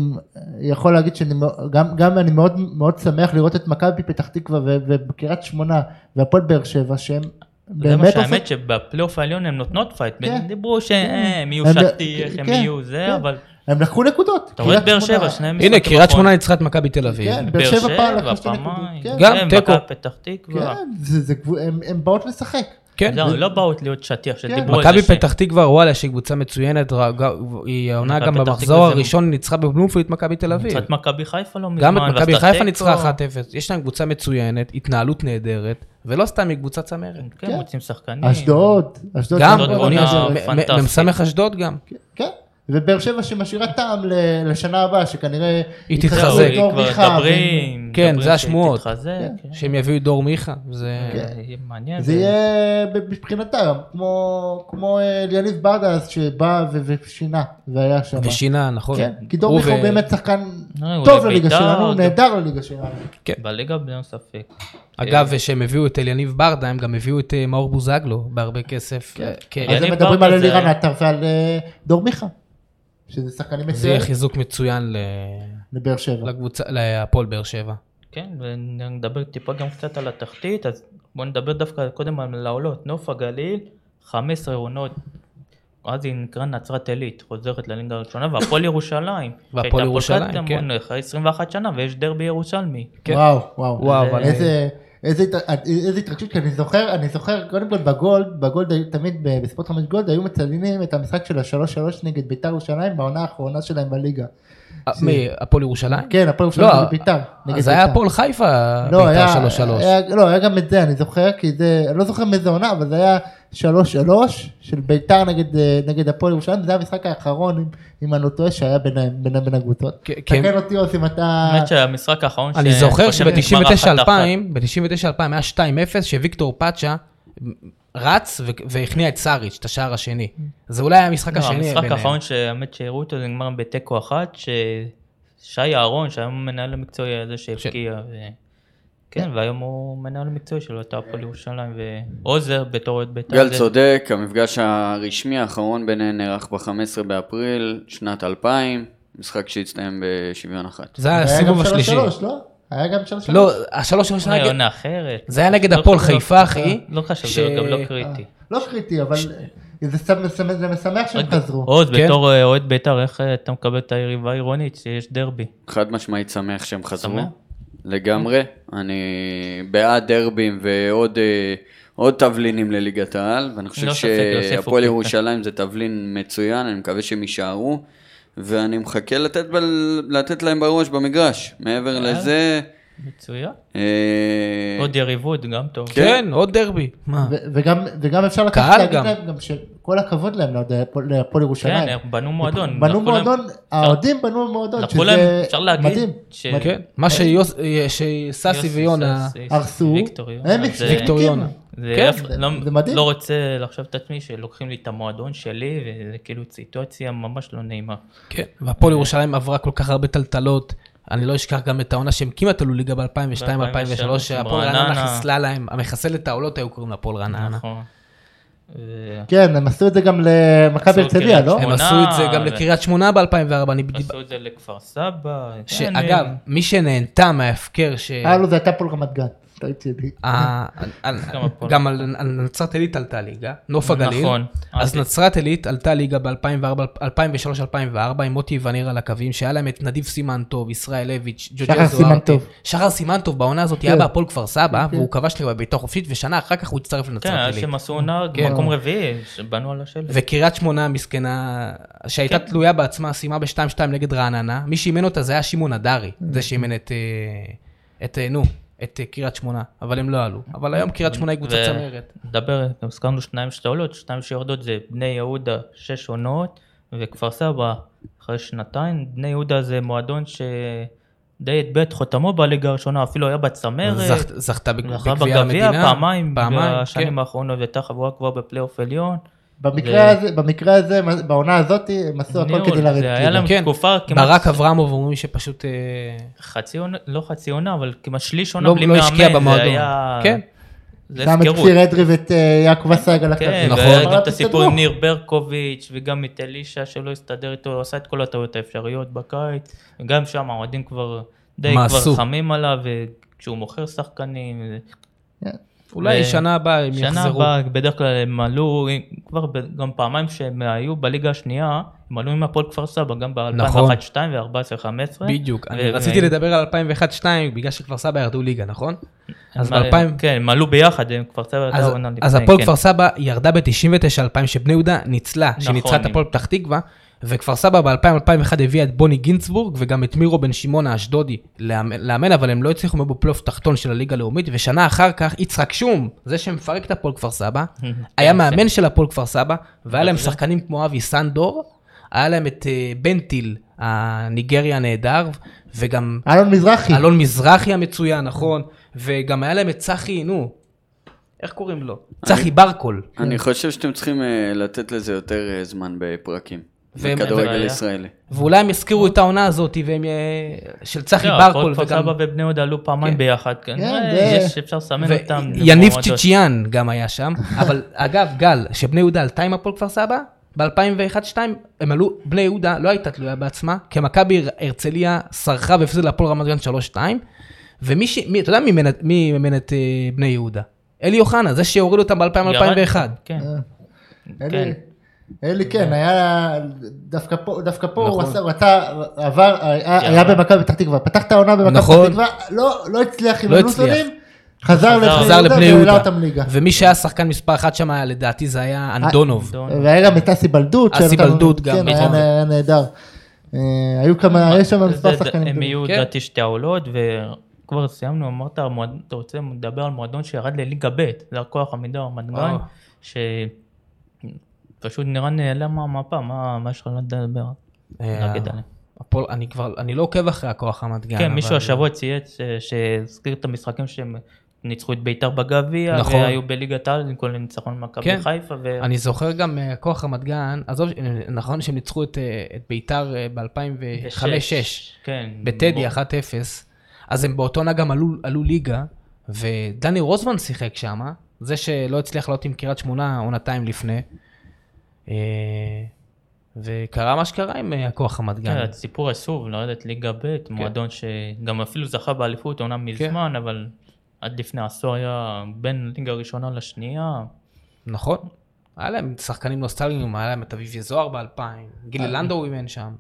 S2: יכול להגיד שאני מאו- גם, גם אני מאוד מאוד שמח לראות את מכבי פתח תקווה ו- ובקריית שמונה והפועל באר שבע שהם
S1: זה מה
S2: באמת לא
S1: שהאמת שבפלייאוף העליון הן נותנות פייט,
S2: כן.
S1: דיברו שהם יהיו
S2: הם-
S1: שתי, איך הם
S2: כן,
S1: יהיו זה,
S2: כן.
S1: אבל
S2: הם לקחו נקודות.
S1: אתה רואה את
S2: קריית
S1: באר
S2: שמונה-
S1: שבע, שניהם
S3: הנה,
S1: משחקים
S3: קריית
S1: בחוץ.
S3: שמונה ניצחה את מכבי תל אביב.
S2: נכון. כן,
S1: באר
S2: באר שבע פעם
S1: שבע,
S2: לקחה שתי נקודות,
S1: פעמיים,
S2: כן.
S1: גם
S3: כן,
S1: תיקו.
S3: מכבי
S1: פתח תקווה.
S2: כן, זה, זה, גבו- הם, הם באות לשחק.
S3: כן.
S1: לא, לא באות להיות
S2: כן.
S1: שטיח שדיברו על זה.
S3: מכבי
S1: ש-
S3: פתח תקווה, וואלה, שהיא קבוצה מצוינת, רג- היא העונה
S1: מכבי
S3: גם
S1: פתח תקווה
S3: במחזור
S1: זה-
S3: הראשון ניצחה בבלומפילד את מכבי תל אביב.
S1: קצת מכבי חיפה לא מזמן.
S3: גם את מכבי
S1: ועשתה
S3: חיפה
S1: תיקו.
S3: ניצחה 1-0, יש להם קבוצה מצוינת, התנהלות נהדרת, ולא סתם היא קבוצה צמרת.
S1: כן,
S2: כן.
S1: מוצאים שחקנים.
S2: אשדוד, אשדוד.
S3: גם,
S1: אשדוד
S3: אני
S1: עונה
S3: חושב, מ-
S1: פנטסטית.
S3: מ- מ"ס אשדוד גם.
S2: כן, ובאר שבע שמשאירה טעם ל- לשנה הבאה, שכנראה...
S3: היא
S1: זהו,
S3: תתחזק.
S2: יתחזקו
S1: היא
S2: דור
S1: כבר
S2: מיכה,
S1: מדברים.
S3: כן,
S1: מדברים
S3: זה
S1: שהיא
S3: השמועות.
S1: תתחזק, כן.
S3: שהם יביאו את דור מיכה, זה...
S1: זה יהיה מעניין.
S2: כן. זה יהיה מבחינתם, כמו, כמו אה, אליניב ברדס שבא ו- ושינה, והיה שם.
S3: ושינה, נכון.
S2: כן, כי דור
S3: הוא
S2: מיכה
S3: ו-
S2: הוא באמת שחקן
S1: אה, הוא
S2: טוב
S1: לבית"ר,
S2: לליגה שלנו, הוא
S1: גם-
S2: נהדר לליגה שלנו.
S1: בליגה בלי ספק. אה.
S3: אגב, שהם הביאו את אליניב ברדה, הם גם הביאו את אה, מאור בוזגלו בהרבה כסף. אה, כן.
S2: אז הם
S1: יניב
S2: מדברים
S1: ברדה
S2: על
S1: זה-
S2: אלירן עטר ועל אה, דור מיכה, שזה שחקנים
S3: זה יהיה
S2: מצוינים
S3: חיזוק מצוין ל-
S2: לבאר שבע.
S3: לקבוצה, להפועל באר שבע.
S1: כן, ונדבר טיפה גם קצת על התחתית, אז בואו נדבר דווקא קודם על העולות. נוף הגליל, 15 עונות, אז היא נקרא נצרת עילית, חוזרת לליגה הראשונה, והפועל ירושלים.
S3: והפועל
S1: שהייתה
S3: ירושלים,
S1: פולקת
S3: כן.
S1: המון, אחרי 21 שנה, ויש דרבי ירושלמי.
S3: כן.
S2: וואו, וואו.
S3: וואו, אבל...
S2: איזה... איזה הת- איזה התרגשות, כי אני זוכר, אני זוכר, קודם כל בגולד, בגולד היו תמיד ב- בספורט חמש גולד היו מצלמים את המשחק של השלוש שלוש נגד ביתר ירושלים בעונה האחרונה שלהם בליגה.
S3: אה, מי, הפועל ירושלים?
S2: כן, הפועל ירושלים
S3: לא,
S2: נגד ביתר. נגד
S3: אז היה
S2: ביתר.
S3: הפועל חיפה,
S2: לא,
S3: ביתר
S2: היה-
S3: 3-3.
S2: היה- לא, היה גם את זה, אני זוכר, כי זה, אני לא זוכר מאיזה עונה, אבל זה היה 3-3 של ביתר נגד, אה, נגד הפועל ירושלים, זה היה המשחק האחרון, אם, אם אני לא טועה, שהיה ביניהם, בינם בין הקבוצות.
S3: כן, כן.
S2: תקן אותי, אוסי, אם אתה...
S1: האמת שהמשחק האחרון
S3: אני
S1: ש-
S3: זוכר
S1: קודם נגמר אחת אחת.
S3: שב-99-2000, ב-99-2000 היה 2-0, שוויקטור פאצ'ה רץ ו- והכניע את סאריץ', את השער השני. זה אולי היה המשחק
S1: לא,
S3: השני ביניהם.
S1: המשחק האחרון שהאמת שהראו אותו זה נגמר בתיקו אחת, ששי אהרון, שהיה המנהל המקצועי הזה שהבקיע. ו... כן, והיום הוא מנהל מקצועי של אותה הפועל ירושלים, ועוזר בתור את בית"ר.
S4: גל
S1: זה-
S4: צודק, המפגש הרשמי האחרון ביניהן נערך ב-15 באפריל שנת 2000, משחק שהצטיין בשוויון אחת.
S3: זה היה
S2: היה
S3: הסיבוב
S2: גם
S3: השלישי.
S2: 3-3, לא? היה גם 3-3.
S3: לא, השלוש שלוש
S1: אולי
S3: נגד-
S1: עונה אחרת.
S3: זה היה נגד
S1: לא
S3: הפועל
S1: חשוב, לא-
S3: חיפה, אחי.
S1: לא חשוב,
S3: ש- אה,
S1: זה גם לא קריטי.
S2: לא קריטי, אבל זה, סמ- סמ- זה משמח שהם
S1: אוקיי.
S2: חזרו.
S1: עוז,
S3: כן.
S1: בתור אה, אוהד בית"ר, איך אה, אתה מקבל את היריבה העירונית שיש דרבי?
S4: חד משמעית שמח שהם חזרו.
S1: שמח?
S4: לגמרי. אני בעד דרבים ועוד אה, עוד תבלינים לליגת העל, ואני חושב
S1: לא ספק, יוסף הוא
S4: שהפועל
S1: כן.
S4: ירושלים זה תבלין מצוין, אני מקווה שהם יישארו, ואני מחכה לתת, ב... לתת להם בראש במגרש. מעבר לזה,
S1: מצוין.
S4: אה,
S1: אה? עוד יריבות, גם טוב.
S3: כן, עוד דרבי. מה?
S2: ו- וגם, וגם אפשר לקחת
S3: קהל
S2: להגיד
S3: גם.
S2: להם גם שכל הכבוד להם להוד- להפועל ירושלים.
S1: כן, הם בנו מועדון.
S2: בנו
S1: לקחו להם-
S2: מועדון, האוהדים בנו מועדון,
S1: לקחו להם,
S2: שזה
S1: אפשר להגיד,
S2: מדהים.
S1: ש-
S3: כן, מה שיוס- אה, שסאסי
S1: יוסי,
S3: ויונה,
S1: סאסי,
S2: הרסו,
S1: ויקטור יונה,
S2: הם
S1: זה-
S2: הפסידו.
S3: ויקטור יונה.
S1: זה
S3: כן,
S1: אף-
S2: זה-
S1: לא-
S2: זה מדהים.
S1: לא רוצה לחשוב את עצמי שלוקחים לי את המועדון שלי, וזה כאילו סיטואציה ממש לא נעימה.
S3: כן, והפועל ירושלים עברה כל כך הרבה טלטלות. אני לא אשכח גם את העונה שהם כמעט עלו ליגה ב-2002-2003,
S1: 2003,
S3: שהפועל
S1: רעננה.
S3: רעננה חיסלה להם, המחסלת העולות היו קוראים להפועל רעננה.
S1: נכון. ו-
S2: כן, הם עשו את זה גם למכבי
S1: עשו
S2: הרצליה,
S1: קריית
S2: לא?
S1: שמונה.
S3: הם עשו את זה גם
S1: ו-
S3: לקריית שמונה ב-2004, אני בדיוק...
S1: עשו את זה לכפר סבא. כן,
S3: שאגב,
S1: הם-
S3: מי שנהנתה מההפקר ש...
S1: כן.
S2: היה לו זה הייתה פול רמת גן, לא טעות שלי.
S3: ה- אה, על-
S1: גם הפועל.
S3: גם על על נצרת עילית עלתה ליגה, נוף הגליל.
S1: נכון.
S3: אז
S1: אה,
S3: נצרת עילית עלתה ליגה ב-2003-2004 עם מוטי וניר על הקווים, שהיה להם את נדיב סימנטוב, ישראל לויץ', ג'וג'ל
S2: שחר
S3: זוארטי.
S2: סימנטוב.
S3: שחר סימנטוב בעונה הזאת היה
S2: כן.
S3: בהפועל כפר סבא,
S2: כן.
S3: והוא כבש לי בביתה חופשית, ושנה אחר כך הוא הצטרף
S1: כן,
S3: לנצרת
S1: אז
S3: עילית.
S1: שהם עשו עונה
S3: כן.
S1: מקום רביעי, שבנו על השלט.
S3: וקריית שמונה המסכנה, שהייתה
S1: כן.
S3: תלויה בעצמה, סיימה ב-2-2 נגד רעננה, מי שאימן אותה זה היה שמעון הדרי,
S2: כן.
S3: זה שאימן את, אה, את, אה, נו, את אה, קריית שמונה, אבל הם לא עלו. אבל היום קריית שמונה היא קבוצה
S1: ו-
S3: צמרת.
S1: נדבר, גם הזכרנו שניים שעולות, שניים שיורדות זה בני יהודה שש עונות, וכפר סבא אחרי שנתיים. בני יהודה זה מועדון שדי הטבע את חותמו בליגה הראשונה, אפילו היה בצמרת.
S3: זכת- זכתה בג-
S1: זכה נכון,
S3: בגביע
S1: בגביע
S3: המדינה.
S1: פעמיים
S3: פעמיים, כן.
S1: בשנים האחרונות, והייתה חבורה כבר בפלייאוף עליון.
S2: במקרה
S1: זה-
S2: הזה, במקרה הזה, מה- בעונה הזאת, הם עשו הכל
S1: ניהול,
S2: כדי לרדת. כאילו.
S1: זה היה
S2: ליגה.
S1: להם
S3: כן.
S1: תקופה כמעט
S3: ברק אברמוב אומרים שפשוט אה,
S1: חצי עונה, לא חצי עונה, אבל כמעט שליש עונה
S3: לא
S1: בלי
S3: לא
S1: מאמן.
S3: השקיע במועדון.
S1: זה היה...
S3: כן,
S1: זה
S2: גם את
S1: הפקרות.
S2: כפיר אדרי ואת אה, יעקב אסייג על הקו.
S1: כן,
S3: נכון.
S1: והיה
S2: אבל
S1: גם את הסיפור
S2: תסתדרו.
S1: עם ניר ברקוביץ', וגם את אלישע שלא הסתדר איתו, הוא עשה את כל הטעויות האפשריות בקיץ, וגם שם האוהדים כבר די
S3: מה
S1: כבר
S3: עשו?
S1: חמים עליו, וכשהוא מוכר שחקנים, זה-
S3: אולי
S1: ו-
S3: שנה הבאה הם
S1: שנה
S3: יחזרו.
S1: הבאה בדרך כלל הם עלו, כבר ב- גם פעמיים שהם היו בליגה השנייה, הם עלו עם הפועל כפר סבא, גם
S3: נכון.
S1: ב-2001-2002 ו-2014-2015.
S3: בדיוק, אני רציתי לדבר על 2001-2002 בגלל שכפר סבא ירדו ליגה, נכון? אז ב-2000...
S1: כן, הם עלו ביחד, הם כפר סבא הייתה
S3: אז-
S1: עונה
S3: אז
S1: לפני,
S3: הפועל
S1: כן. [laughs]
S3: כפר סבא ירדה ב-99-2000 שבני יהודה ניצלה, שהיא ניצחה את
S1: נכון.
S3: הפועל פתח תקווה, וכפר סבא ב-2000-2001 הביאה את בוני גינצבורג וגם את מירו בן שמעון האשדודי לאמן- לאמן, אבל הם לא הצליחו מאוד בפלייאוף תחתון של הליגה הלאומית, ושנה אחר כך יצחק שום, זה שמפרק את הפועל כפר סבא, היה
S1: כן,
S3: מאמן של הפועל כפר סבא, והיה להם שחקנים כמו אבי סנדור, היה להם את אה, בנטיל, הניגרי הנהדר, וגם
S2: אלון מזרחי.
S3: אלון מזרחי המצוין, נכון, וגם היה להם את צחי, נו, איך קוראים לו? צחי ברקול.
S4: אני חושב שאתם צריכים אה, לתת לזה יותר אה, זמן בפרקים.
S3: והם-
S4: בכדורגל
S1: בעיה.
S4: ישראלי.
S3: ואולי הם יזכירו את העונה הזאת, והם... אה, של צחי
S1: זהו,
S3: ברקול,
S1: לא, הפועל כפר
S3: וגם...
S1: סבא ובני יהודה עלו פעמיים
S3: כן.
S1: ביחד, כן,
S2: זה-
S1: יש- אפשר לסמן אותם.
S3: ויניב
S1: במועדון.
S3: צ'יצ'יאן גם היה שם, [laughs] אבל אגב, גל, שבני יהודה עלתה עם הפועל כפר סבא, ב-2001-2002 הם עלו, בני יהודה לא הייתה תלויה בעצמה, כי מכבי הר- הרצליה סרחה והפסידה להפועל רמת גן 3-2, ומי ש... מי- אתה יודע מי מממן- מי מממן את אה, בני יהודה? אלי אוחנה, זה שהוריד אותם
S1: ירד-
S3: ב-2000-2001.
S1: כן. כן.
S2: אלי, אלי כן, היה דווקא פה, דווקא פה הוא
S3: נכון. כן.
S2: עשה, הוא עשה, עבר, היה היה במכבי פתח תקווה, פתח את העונה במכבי
S3: נכון.
S2: פתח תקווה, לא לא הצליח עם
S3: לא
S2: הלוזונים,
S3: הצליח.
S2: חזר
S3: חזר לבני
S2: והעלה
S3: יהודה.
S2: אותם ליגה. אה,
S3: ומי שהיה שחקן מספר אחת שם, היה, לדעתי זה היה אנדונוב.
S2: והיה גם את אסי בלדות.
S3: אסי
S2: שנתן-
S3: בלדות גם,
S2: כן, היה
S3: נכון.
S2: היה נהדר. אה, היו כמה, יש שם מספר
S1: נכון. זה- זה-
S2: שחקנים.
S1: הם יהיו
S3: כן.
S1: לדעתי שתי העולות, וכבר סיימנו, אמרת, המועד- אתה רוצה לדבר על מועדון שירד לליגה ב', זה הכוח עמידה רמת גן,
S3: אה.
S1: שפשוט נראה נעלם מהמפה, מה מה יש לך לדבר?
S3: אה,
S1: נגיד עליהם.
S3: הפועל- אני כבר, אני לא עוקב אחרי הכוח רמת גן.
S1: כן, מישהו
S3: אבל-
S1: השבוע צייץ אה, שהזכיר את המשחקים שהם ניצחו את ביתר בגביע,
S3: נכון.
S1: והיו בליגת העל עם כל הניצחון במכבי
S3: כן.
S1: חיפה, ו...
S3: אני זוכר גם אה, כוח רמת גן, עזוב, אה, נכון שהם ניצחו את אה, את ביתר
S1: ושש.
S3: ב-2005-2006,
S1: כן. ב-
S3: בטדי 1-0, אז הם באותו עונה גם עלו- עלו ליגה, ודני רוזמן שיחק שם, זה שלא הצליח לעלות עם קריית שמונה עונתיים לפני, אה, וקרה מה שקרה עם אה, הכוח רמת
S1: כן,
S3: גן.
S1: הסיפור עצוב, לרדת ליגה ב', מועדון שגם אפילו זכה באליפות, אומנם מזמן, אבל עד לפני עשור היה בין ליגה ראשונה לשנייה.
S3: נכון. היה להם שחקנים נוסטלגיים, היה להם את אביב יזוהר ב-2000,
S1: אה.
S3: גילי לנדאו אימן שם.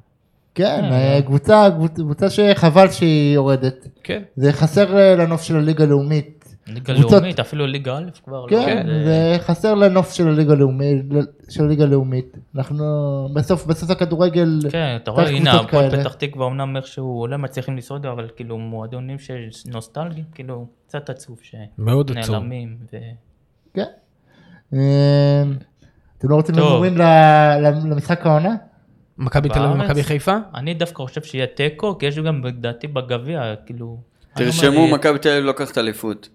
S2: כן, אה, קבוצה קבוצה שחבל שהיא יורדת.
S3: כן.
S2: זה חסר אה, לנוף של הליגה הלאומית.
S1: ליגה
S2: קבוצות-
S1: לאומית, אפילו ליגה א' כבר. לא,
S2: כן,
S1: זה-
S2: זה חסר לנוף של הליגה הלאומית, של הליגה הלאומית. אנחנו בסוף, בסוף הכדורגל,
S1: כן, אתה רואה,
S2: צריך
S1: הנה,
S2: קבוצות
S1: הפועל
S2: כאלה.
S1: פתח תקווה אומנם איכשהו אולי מצליחים לשרוד, אבל כאילו מועדונים של נוסטלגיים, כאילו קצת עצוב
S3: מאוד עצוב.
S1: שנעלמים. ו-
S2: כן. אה, אתם לא רוצים
S1: טוב.
S2: להמורים ל- למשחק העונה?
S3: מכבי תל אביב
S1: בארץ?
S3: ומכבי חיפה?
S1: אני דווקא חושב שיהיה תיקו, כי יש גם לדעתי בגביע, כאילו... אני
S4: תרשמו,
S1: אומר,
S4: מכבי תל אביב לוקחת אליפות.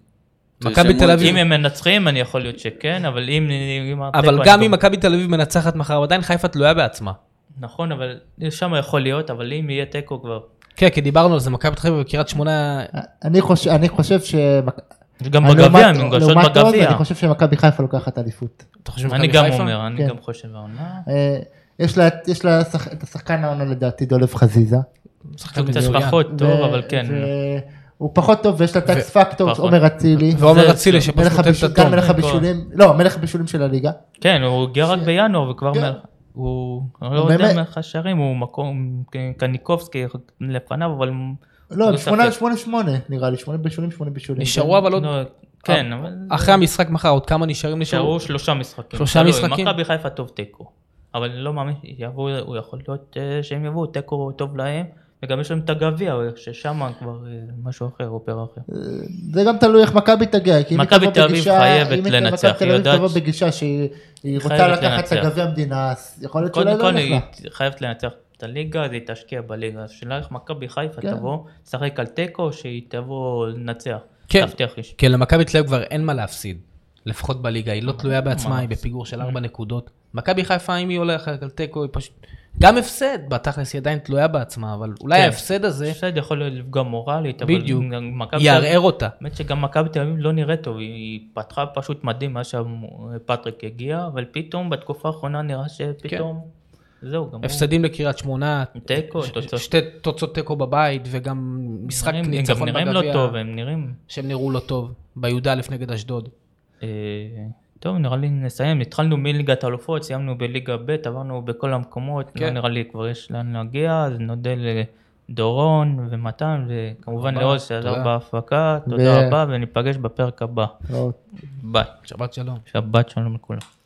S3: מכבי
S4: תרשמו
S3: תל
S4: את
S3: אביב.
S4: זה.
S1: אם הם מנצחים, אני יכול להיות שכן, אבל אם... אם
S3: אבל
S1: התיקו,
S3: גם
S1: אני
S3: אם מכבי תל אביב מנצחת מחר, עדיין חיפה תלויה בעצמה.
S1: נכון, אבל שם יכול להיות, אבל אם יהיה תיקו כבר.
S3: כן, כי דיברנו על זה, מכבי תל אביב וקריית שמונה,
S2: אני חושב, אני חושב ש...
S1: גם
S2: לעומת-
S1: בגביע, הן מוגשות
S2: לא לעומת עוד,
S1: בגביע.
S2: אני חושב שמכבי חיפה לוקחת אליפות.
S3: אתה חושב
S1: אני
S3: מכבי
S1: גם
S3: חיפה?
S1: אומר, אני
S2: כן.
S1: גם חושב העונה.
S2: אה, יש לה, יש לה שח, את השחקן העונה לדעתי, דולב חזיזה.
S3: שחקן
S1: קצת
S3: מצוין.
S1: פחות טוב,
S2: ו-
S1: אבל כן.
S2: ו- הוא פחות טוב ויש לה את האקס פקטור,
S1: פחות.
S2: עומר אצילי.
S3: ועומר
S1: זה-
S3: אצילי שפשוט
S2: מלך
S3: נותן
S2: הבישולים,
S3: את
S2: גם
S3: הטון.
S2: מלך הבישולים, לא, מלך הבישולים של הליגה.
S1: כן, הוא הגיע רק בינואר, וכבר...
S2: כן.
S1: מ- הוא אני לא
S2: באמת-
S1: יודע מאיך השערים, הוא מקום... קניקובסקי לפניו, אבל...
S2: לא,
S1: לא
S2: שמונה,
S1: ספק.
S2: שמונה, שמונה נראה לי, שמונה בישולים, שמונה בישולים.
S3: נשארו אבל עוד, אה,
S1: לא, כן, אבל...
S3: אחרי המשחק מחר, עוד כמה נשארים נשארו?
S1: נשארו שלושה משחקים.
S3: שלושה
S1: תלוי,
S3: משחקים?
S1: מכבי חיפה טוב תיקו. אבל אני לא מאמין, יבואו, הוא יכול להיות אה, שהם יבואו, תיקו טוב להם, וגם יש להם את הגביע, ששם כבר אה, משהו אחר, אופרה אחר.
S2: אה, זה גם תלוי איך מכבי תגיע, כי אם היא
S1: מכבי
S2: תבוא
S1: תל אביב
S2: בגישה-
S1: חייבת
S2: אם היא-
S1: לנצח,
S2: מכבי תל
S1: היא
S2: אביב
S1: יודעת
S2: תבוא
S1: ש-
S2: בגישה שהיא היא רוצה
S1: חייבת
S2: לקחת את
S1: לנצח.
S2: הגביע המדינה, אז יכול להיות שאולי
S1: קודם כל
S2: לא נלך
S1: היא
S2: לה.
S1: חייבת לנצח את הליגה, אז היא תשקיע בליגה. אז השאלה איך מכבי חיפה
S2: כן.
S1: תבוא, תשחק על תיקו, שהיא תבוא לנצח.
S3: כן.
S1: תבטיח לי. ש-
S3: כי למכבי תל אביב כבר אין מה להפסיד, לפחות בליגה, היא לא תלויה בעצמה, היא בפיגור של 4 נקודות. מכבי חיפה, אם היא הולכת על תיקו, היא פשוט... גם הפסד, בתכלס היא עדיין תלויה בעצמה, אבל אולי
S1: כן.
S3: ההפסד הזה
S1: הפסד יכול להיות לפגוע מורלית, אבל
S3: בדיוק.
S1: גם מכבי תל אביב-
S3: יערער אותה.
S1: האמת שגם מכבי תל אביב לא נראית טוב, היא- היא פתחה פשוט מדהים מאז שפטריק הגיע, אבל פתאום בתקופה האחרונה נראה שפתאום, זהו, גם
S3: הפסדים לקריית שמונה,
S1: תיקו,
S3: כן. ש-
S1: תוצאות-
S3: שתי תוצאות תיקו בבית, וגם משחק
S1: נראים- הם
S3: ניצחון
S1: גם נראים לא
S3: בגביע,
S1: טוב, הם נראים...
S3: שהם נראו לא טוב, בי"א נגד אשדוד.
S1: אה, טוב, נראה לי נסיים, התחלנו מליגת האלופות, סיימנו בליגה ב', עברנו בכל המקומות, לא
S3: כן.
S1: נראה לי כבר יש לאן להגיע, אז נודה לדורון ומתן, וכמובן
S3: רבה,
S1: לעוז שעזר
S3: תודה.
S1: בהפקה,
S2: ו-
S1: תודה רבה, וניפגש בפרק הבא.
S2: לא,
S1: ביי.
S3: שבת שלום.
S1: שבת שלום לכולם.